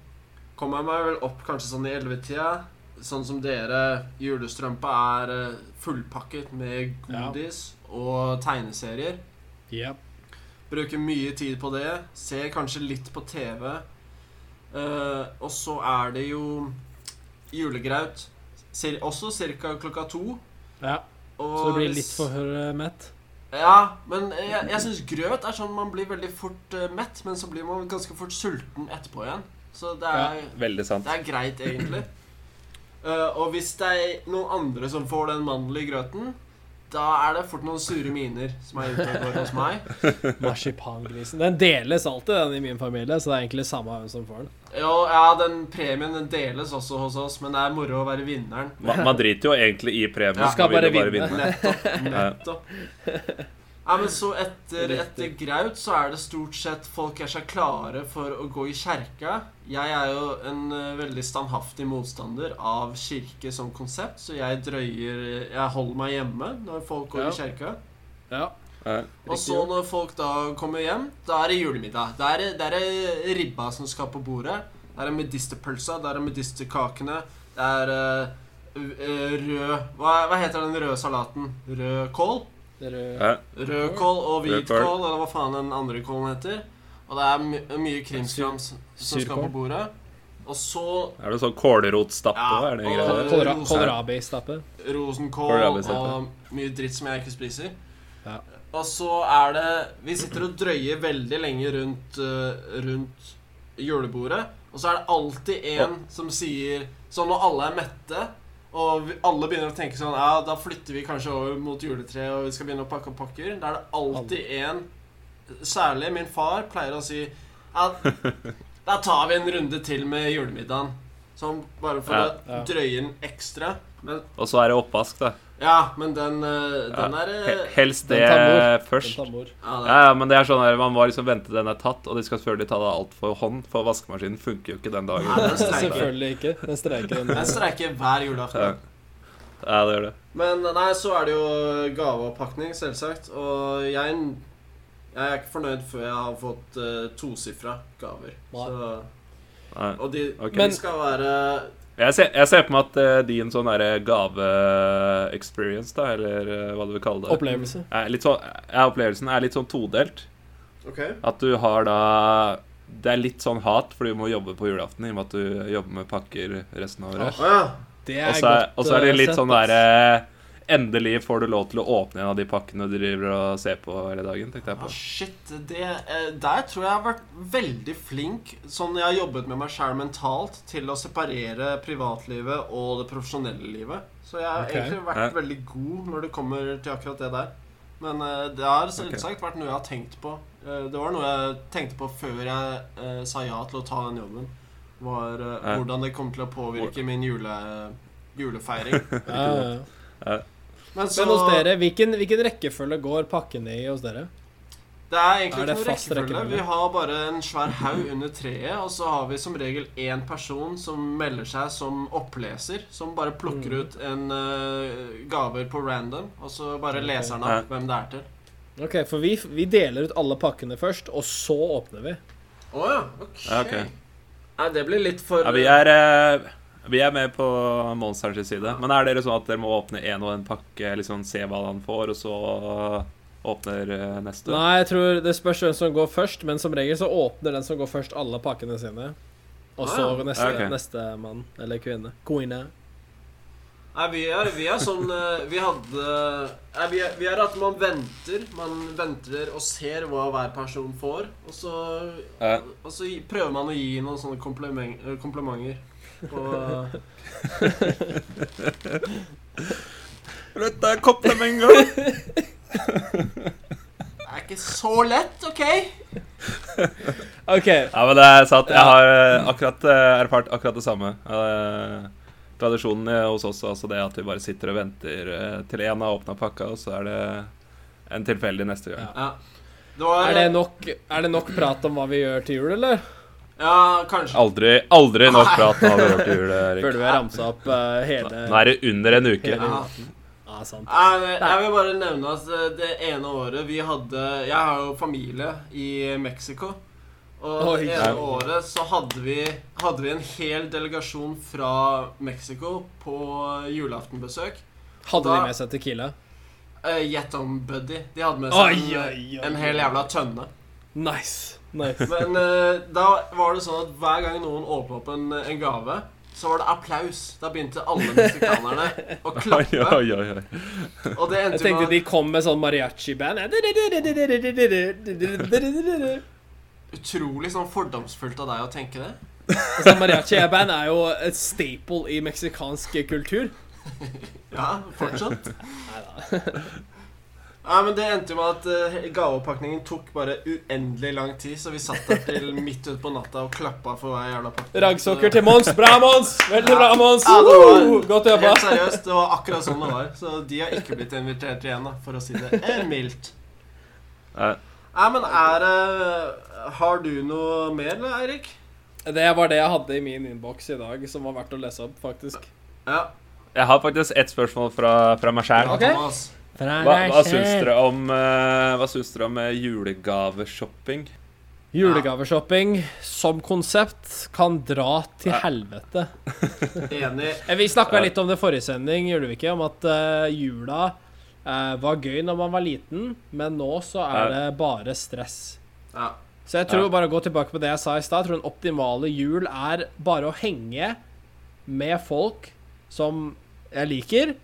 S1: kommer jeg meg vel opp kanskje sånn i 11-tida. Sånn som dere, julestrømpa er eh, fullpakket med
S3: Ja.
S1: godis og tegneserier.
S3: Yep.
S1: Bruker mye tid på det. Ser kanskje litt på TV. Eh, og så er det jo julegraut. Cir også ca. klokka to.
S3: Ja.
S1: Og
S3: Så du blir
S1: hvis-
S3: litt for eh, mett?
S1: Ja, men jeg, jeg syns grøt er sånn man blir veldig fort eh, mett, men så blir man ganske fort sulten etterpå igjen. Så det er,
S4: Veldig sant.
S1: det er greit, egentlig. Eh, og hvis det er noen andre som får den mandelen i grøten, da er det fort noen sure miner som er ute og går hos meg.
S3: Marsipangrisen. Den deles alltid, den i min familie, så det er egentlig samme hvem som får den.
S1: Jo, ja, den premien den deles også hos oss, men det er moro å være vinneren.
S3: (laughs)
S4: Man, man driter jo egentlig i premien.
S1: Ja.
S3: Skal
S4: man vil jo
S3: bare vinne.
S1: Nettopp. nettopp. Nei, men så etter, etter Graut så er det stort sett folk er seg klare for å gå i kjerka. Jeg er jo en eh, veldig standhaftig motstander av kirke som konsept, så jeg drøyer Jeg holder meg hjemme når folk går
S3: Ja.
S1: i kjerka.
S3: Ja.
S4: Ja.
S1: Og så når folk da kommer hjem, da er det julemiddag. Da er det, da er det ribba som skal på bordet. Da er det medisterpølsa, da er det medisterkakene, det er eh, eh, rød hva, hva heter den røde salaten? Rød kål?
S3: Rød.
S4: Ja.
S1: Rødkål og
S4: Rødkål.
S1: hvitkål, eller hva faen den andre kålen heter. Og det er my mye krimskrams som skal på
S3: Surkål.
S1: bordet. Og så
S4: Er det sånn kålrotstappe
S1: Ja,
S4: òg? Er det
S1: og-
S4: greier?
S3: Kolra
S1: rosa.
S3: Kålrabistappe.
S1: rosenkål
S4: Kål, ja, vi setter.
S1: og mye dritt som jeg ikke spiser.
S3: Ja.
S1: Og så er det Vi sitter og drøyer veldig lenge rundt, eh, rundt julebordet, og så er det alltid en som sier Sånn når alle er mette, og vi, alle begynner å tenke sånn Ja, da flytter vi kanskje over mot juletreet, og vi skal begynne å pakke opp pakker. Da er det alltid en, særlig min far, pleier å si Ja, da tar vi en runde til med julemiddagen. Sånn bare for
S4: Ja.
S1: å
S3: Ja.
S1: drøye den ekstra. Men
S4: Og så er det oppvask, da.
S1: ja, men den, eh, den
S4: Ja.
S1: er eh,
S4: He- Helst
S3: Den
S4: det
S3: tar mor.
S4: først.
S3: Den tar mor.
S1: ja, den,
S4: Ja, ja, men det er sånn der, Man må liksom vente den er tatt, og de skal selvfølgelig ta det alt for hånd, for vaskemaskinen funker jo ikke den dagen.
S1: Nei, den streiker.
S3: Selvfølgelig ikke. Den
S4: (laughs)
S3: streiker den.
S1: den streiker hver julaften.
S4: Ja. ja, det gjør det.
S1: Men nei, så er det jo gaveoppakning, selvsagt. Og jeg, jeg er ikke fornøyd før jeg har fått uh, tosifra gaver.
S3: Nei.
S1: Så,
S4: Nei.
S1: og de,
S4: Ok.
S1: de
S3: Men-
S1: skal være
S4: Jeg, ser, jeg ser på meg at eh, din sånn derre gave-experience, da, eller eh, hva du vil kalle det
S3: Opplevelse.
S4: er litt sånn, ja, Opplevelsen er litt sånn todelt.
S1: OK?
S4: At du har da Det er litt sånn hat, for du må jobbe på julaften i og med at du jobber med pakker resten av
S1: Å
S4: året.
S1: ja.
S3: Det
S4: Og så er-
S3: godt,
S4: og så er det
S3: eh,
S4: litt
S3: sett,
S4: sånn
S3: ass.
S4: derre Endelig får du lov til å åpne en av de pakkene du driver og ser på hele dagen. tenkte jeg
S1: Ah,
S4: på.
S1: shit. Det, eh, der tror jeg jeg har vært veldig flink, sånn jeg har jobbet med meg sjæl mentalt, til å separere privatlivet og det profesjonelle livet. Så jeg har
S3: Ok.
S1: egentlig vært
S4: Ja.
S1: veldig god når det kommer til akkurat det der. Men eh, det har selvsagt vært noe jeg har tenkt på. Eh, det var noe jeg tenkte på før jeg eh, sa ja til å ta den jobben. Var eh,
S4: Ja.
S1: hvordan det kom til å påvirke min jule, julefeiring.
S4: (laughs)
S3: Ja, ja, ja.
S1: Men, så,
S3: Men hos dere, hvilken, hvilken rekkefølge går pakkene i hos dere?
S1: Det er egentlig
S3: Er
S1: ikke
S3: det
S1: noen
S3: fast
S1: rekkefølge.
S3: rekkefølge?
S1: Vi har bare en svær haug under treet, og så har vi som regel én person som melder seg som oppleser, som bare plukker
S3: Mhm.
S1: ut en eh, gaver på random, og så bare
S3: Ok.
S1: leser han opp hvem det er til.
S3: Ok, For vi, vi deler ut alle pakkene først, og så åpner vi.
S1: Å ja, ok.
S4: Ja, ok.
S1: Nei, det blir litt for
S4: Ja, vi er eh, vi er med på monsterens side. Men er dere sånn at dere må åpne en og en pakke, liksom se hva han får, og så åpner eh, neste?
S3: Nei, jeg tror det spørs hvem som går først, men som regel så åpner den som går først, alle pakkene sine. Og så
S1: Ah,
S3: neste,
S4: ok.
S3: neste mann eller kvinne. Queene.
S1: Nei, vi er, vi er sånn eh, Vi hadde Nei, vi er, vi er at man venter. Man venter og ser hva hver person får, og så,
S4: Ja.
S1: og så gi- prøver man å gi noen sånne komplimen- eh, komplimenter. På, eh,
S4: Slutt, da! Kopp dem en gang!
S1: det er ikke så lett, OK?
S3: OK.
S4: Ja, men det er sant. Jeg
S3: Ja.
S4: har eh, akkurat eh, erfart akkurat det samme. Eh, Tradisjonen eh, hos oss er altså det at vi bare sitter og venter eh, til en har åpna pakka, og så er det en tilfeldig neste gang.
S3: Ja.
S1: Ja. Det var,
S3: Er det, nok, er det nok prat om hva vi gjør til jul, eller?
S1: Ja, kanskje.
S4: Aldri, aldri nok prat nå har vi gjort i jul,
S3: Burde
S4: Erik.
S3: vi ha ramsa opp eh, hele
S4: Nå er det under en uke.
S1: Ja.
S3: Ja, sant.
S1: Nei, men Jeg vil bare nevne at eh, det ene året vi hadde Jeg har jo familie i Mexico. Og
S3: Oi.
S1: det
S4: Ja.
S1: ene året så hadde vi, hadde vi en hel delegasjon fra Mexico på julaftenbesøk.
S3: Hadde de
S1: Da-
S3: med seg Tequila?
S1: Eh, Gjett om Buddy. De hadde med
S3: Oi,
S1: seg en,
S3: oi, oi.
S1: en hel jævla tønne.
S3: Nice. nice.
S1: Men eh, da var det sånn at hver gang noen åpna opp en, en gave, så var det applaus. Da begynte alle meksikanerne å klappe.
S4: (laughs) (laughs) Oi, oi, oi.
S1: Og det
S3: Jeg
S1: endte jo
S3: tenkte
S1: med
S3: de kom med sånn mariachi-band. Altså,
S1: utrolig sånn fordomsfullt av deg å tenke det.
S3: sånn Mariachi-band er jo et staple i meksikansk kultur.
S1: Ja,
S3: (laughs)
S1: fortsatt. Ja, men Det endte jo med at eh, gaveoppakningen tok bare uendelig lang tid, så vi satt der til midt utpå natta og klappa for hver jævla pakning.
S3: Raggsokker til Mons. Bra, Mons! Veldig bra, Mons!
S1: Ja, det var-
S3: Woo! Godt jobba.
S1: Helt seriøst, det var akkurat sånn det var. Så de har ikke blitt invitert igjen, da, for å si det eh, mildt.
S4: Nei.
S1: Nei, men er det Har du noe mer, Eirik?
S3: Det var det jeg hadde i min innboks i dag, som var verdt å lese opp, faktisk.
S1: Ja.
S4: Jeg har faktisk ett spørsmål fra, fra meg
S1: ja,
S4: sjæl.
S3: Ok.
S1: Thomas.
S4: Hva, hva syns dere om, eh, hva syns dere om eh, julegaveshopping?
S3: Julegaveshopping som konsept kan dra til
S4: Ja.
S3: helvete.
S1: Enig.
S3: Eh, Vi snakka
S4: Ja.
S3: litt om det forrige sending, gjorde vi ikke? Om at eh, jula eh, var gøy når man var liten, men nå så er det
S4: Ja.
S3: bare stress.
S1: Ja.
S3: Så jeg tror
S4: Ja.
S3: bare å gå tilbake på det jeg sa i stad. Jeg tror den optimale jul er bare å henge med folk som jeg liker,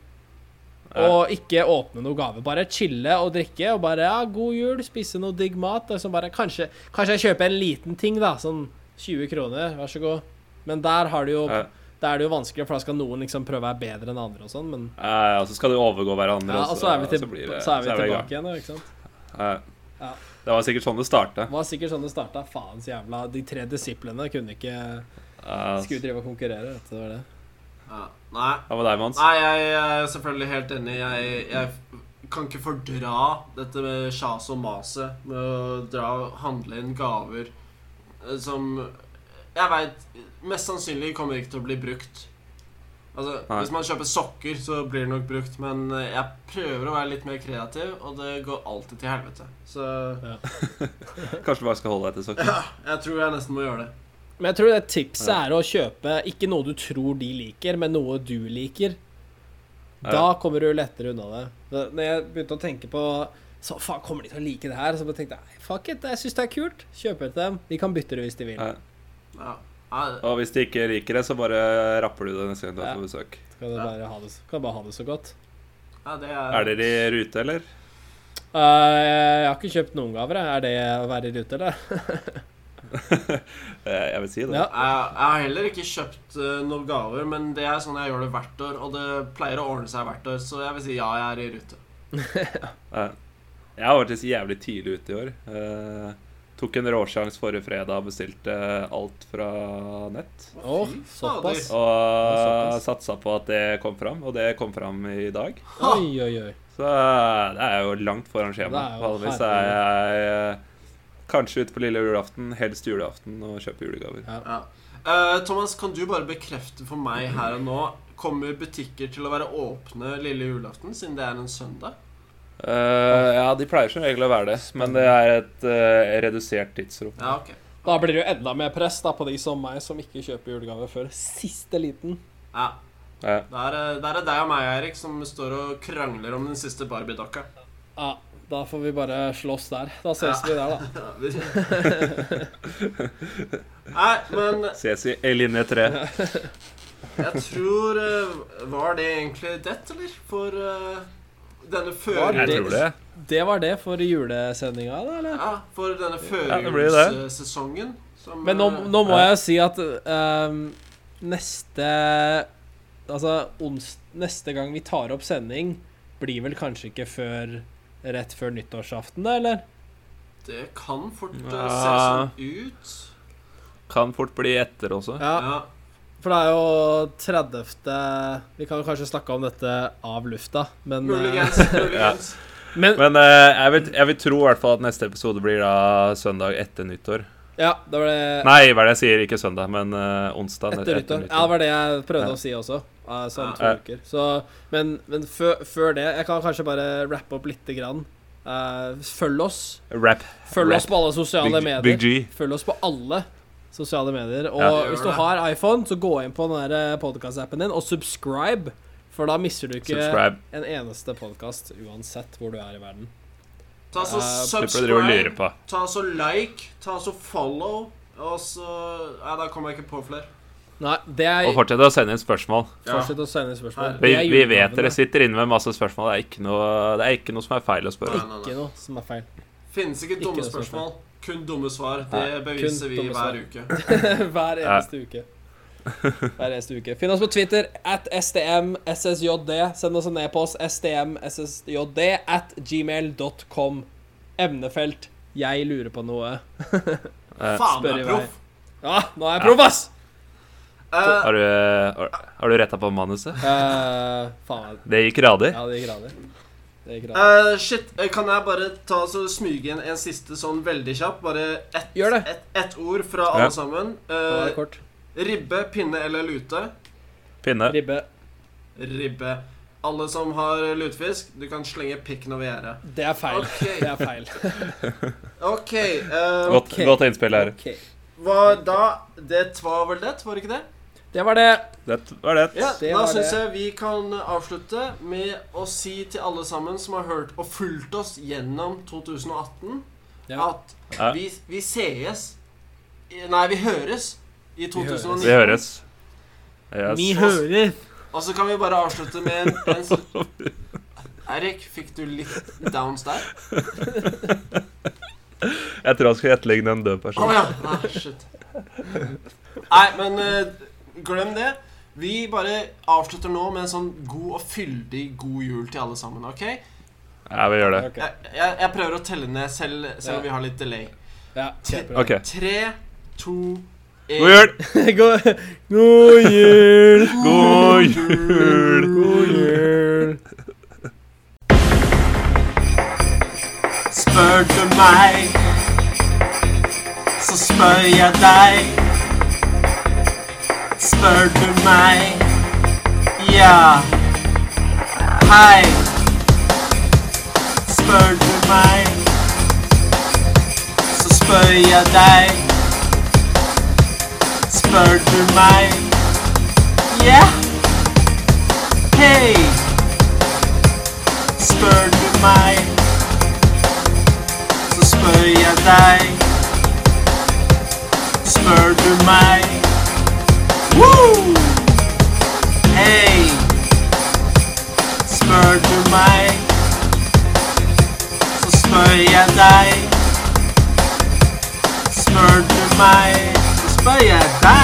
S4: Ja.
S3: og ikke åpne noen gave. Bare chille og drikke og bare ja, 'god jul', spise noe digg mat. Og så bare, kanskje, kanskje jeg kjøper en liten ting, da. Sånn 20 kroner, vær så god. Men der har du jo
S4: Ja.
S3: Da er det jo vanskelig, for da skal noen liksom prøve å være bedre enn andre og sånn, men
S4: Eh, og så skal de overgå hverandre.
S3: ja, Og så er vi, til,
S4: blir det-
S3: så er vi
S4: så i gang.
S3: tilbake igjen, ikke sant.
S4: Eh,
S3: Ja.
S4: Det var sikkert sånn det starta.
S3: Det var sikkert sånn det starta. Faens jævla De tre disiplene kunne ikke Skulle
S4: det
S3: drive og konkurrere, vet du. Det var det.
S1: Ja. Nei.
S4: var deg, Mons.
S1: Nei, jeg er selvfølgelig helt enig. Jeg, jeg kan ikke fordra dette med sjas og maset med å dra og handle inn gaver eh, som jeg veit mest sannsynlig kommer ikke til å bli brukt. Altså,
S4: Nei.
S1: Hvis man kjøper sokker, så blir det nok brukt, men eh, jeg prøver å være litt mer kreativ, og det går alltid til helvete. Så
S4: Kanskje du bare skal holde deg til sokker.
S1: ja, jeg tror jeg nesten må gjøre det.
S3: Men jeg tror det tipset er å kjøpe ikke noe du tror de liker, men noe du liker. Da
S4: Ja.
S3: kommer du lettere unna det. Da når jeg begynte å tenke på så faen, kommer de til å like det her? Så bare tenkte jeg fuck it, jeg syns det er kult. Kjøper det til dem. De kan bytte det hvis de vil.
S4: Ja.
S1: Ja. Nei,
S4: Og hvis de ikke liker det, så bare rapper du det neste gang du er på besøk.
S3: Så kan de bare ha det, så- kan de bare ha det så godt.
S1: nei, det er,
S4: Er dere i rute, eller?
S3: Eh, jeg har ikke kjøpt noen gaver. jeg. Er det å være i rute, eller?
S4: Eh, Jeg vil si det.
S3: Ja.
S1: Jeg, jeg har heller ikke kjøpt eh, noen gaver, men det er sånn jeg gjør det hvert år. Og det pleier å ordne seg hvert år, så jeg vil si ja, jeg er i rute.
S4: Eh, Jeg har vært jævlig tidlig ute i år. Eh, Tok en råsjans forrige fredag og bestilte alt fra nett.
S3: Å,
S1: fy fader.
S3: såpass.
S4: Og
S3: såpass.
S4: satsa på at det kom fram, og det kom fram i dag.
S1: Ha!
S3: Oi, oi, oi.
S4: Så eh, det er jo langt foran skjema.
S3: Det er jo
S4: Vanligvis er jeg eh, kanskje ute på lille julaften, helst julaften, og kjøper julegaver.
S1: Ja. Eh, Thomas, kan du bare bekrefte for meg her og nå Kommer butikker til å være åpne lille julaften, siden det er en søndag?
S4: Eh, ja, de pleier som regel å være det, men det er et eh, redusert tidsrom.
S1: Ja, ok.
S3: Da blir det jo enda mer press da, på de som meg, som ikke kjøper julegaver før siste liten.
S1: Ja,
S4: Eh,
S1: Da er det- da er det deg og meg, Eirik, som står og krangler om den siste Barbie-dokka.
S3: Ja, da får vi bare slåss der. Da ses
S1: Ja.
S3: vi der, da.
S1: Ja, vi- Nei, men
S4: ses i linje tre.
S1: Jeg tror eh, Var det egentlig det, eller? For eh, denne
S3: Var
S4: Jeg
S1: føringen
S4: tror det.
S3: Det var det for julesendinga, da, eller?
S1: Ja, for denne
S4: det blir jo det.
S1: førjulssesongen. som,
S3: Men nå,
S1: eh,
S3: nå må
S4: Ja.
S3: jeg si at ehm, neste Altså, ons, neste gang vi tar opp sending, blir vel kanskje ikke før rett før nyttårsaften, da, eller?
S1: Det kan fort eh, se
S4: Ja.
S1: sånn ut.
S4: Kan fort bli etter også.
S3: Ja,
S1: Ja.
S3: for det er jo 30. Vi kan jo kanskje snakke om dette av lufta, men eh, (laughs)
S1: Muligens.
S4: (laughs)
S1: muligens.
S3: Men
S4: Men eh, jeg, vil, jeg vil tro i hvert fall at neste episode blir da søndag etter nyttår.
S3: Ja, det var det
S4: Nei, hva er det jeg sier? Ikke søndag, men eh, onsdag
S3: etter nyttår. Ja, det var det jeg prøvde å si også. eh, Så om to
S4: Ja.
S3: uker. Så, men men før, før det Jeg kan kanskje bare rappe opp lite grann. Eh, følg oss.
S4: Rap.
S3: Følg
S4: Rap.
S3: oss på alle sosiale
S4: Big,
S3: medier.
S4: Big G.
S3: Følg oss på alle sosiale medier. Og
S4: Ja.
S3: hvis du har iPhone, så gå inn på den podkast-appen din og subscribe. For da mister du ikke
S4: Subscribe.
S3: en eneste podkast uansett hvor du er i verden.
S1: Ta så
S3: Eh,
S4: Slipper å drive og lure
S1: subscribe,
S4: på.
S1: ta så like, ta så follow, og så Nei, da kommer jeg ikke på flere.
S3: Nei, det er
S4: Og fortsett å sende inn spørsmål.
S3: Fortsett å sende spørsmål.
S4: Vi,
S3: Det er
S4: vi vet
S3: julegavene.
S4: dere sitter inne med masse spørsmål. Det er ikke noe, det er ikke noe som er feil å spørre.
S1: Nei, nei, nei.
S3: Ikke noe som er feil.
S1: Finnes ikke
S3: Ikke
S1: dumme
S3: noe som er
S1: spørsmål. Kun dumme svar. Det beviser vi
S3: dumme svar.
S1: hver uke.
S3: (laughs) Hver eneste uke. Hver eneste uke. Finn oss på Twitter at stmssjd. Send oss en e-post stmssjd at gmail.com. Emnefelt 'jeg lurer på noe'.
S4: Eh,
S1: Faen,
S3: spør
S1: jeg
S3: i
S1: er proff!
S3: Ja, nå er jeg proff, ass!
S1: Eh,
S4: Har du, har du retta på manuset?
S3: Eh, faen.
S4: Det gikk radig.
S3: Ja, det gikk radig. Det gikk radig.
S1: eh, shit, eh, kan jeg bare ta så smyge inn en siste sånn veldig kjapp? Bare ett
S3: Gjør det.
S1: ett- ett ord fra
S4: Ja.
S1: alle sammen.
S3: Nå er det
S1: Eh,
S3: kort.
S1: ribbe, pinne eller lute?
S4: Pinne.
S3: Ribbe.
S1: Ribbe. Alle som har lutefisk, du kan slenge pikken over gjerdet.
S3: Det er feil. Det
S1: OK.
S3: er feil.
S1: ok eh,
S4: Godt,
S3: Ok.
S4: godt innspill her.
S3: Ok.
S1: Hva da Det var vel det, var det ikke det?
S3: Det var det.
S4: Det var det.
S1: Ja,
S3: Det
S1: Da
S3: var
S1: syns
S3: det.
S1: jeg vi kan avslutte med å si til alle sammen som har hørt og fulgt oss gjennom 2018,
S3: Ja.
S1: at
S4: Ja.
S1: vi, vi sees i- Nei, vi høres i
S3: høres.
S1: 2019.
S4: Vi høres. Yes.
S3: hører.
S1: Og så kan vi bare avslutte med en, en s- Erik, fikk du litt downs der?
S4: Jeg tror han skulle etterligne en død
S1: Å
S4: person.
S1: ja. Nei, shit. Nei, men eh, glem det. Vi bare avslutter nå med en sånn god og fyldig god jul til alle sammen, OK?
S4: Ja, vi gjør det.
S3: Ok.
S1: Jeg, jeg, jeg prøver å telle ned selv, selv om vi har litt delay.
S3: Ja, kjempebra.
S4: OK.
S1: Tre, to, én
S4: God jul!
S3: (laughs) God, god jul!
S4: God jul!
S3: God jul!
S1: Spør du meg, så spør jeg deg. Spør du meg, ja. Hei. Spør du meg, så spør jeg deg. Spør du meg, ja. Hei. Spør du meg så spør jeg deg. Spør du meg? Woo! Hei! Spør du meg, så spør jeg deg. Spør du meg, så spør jeg deg.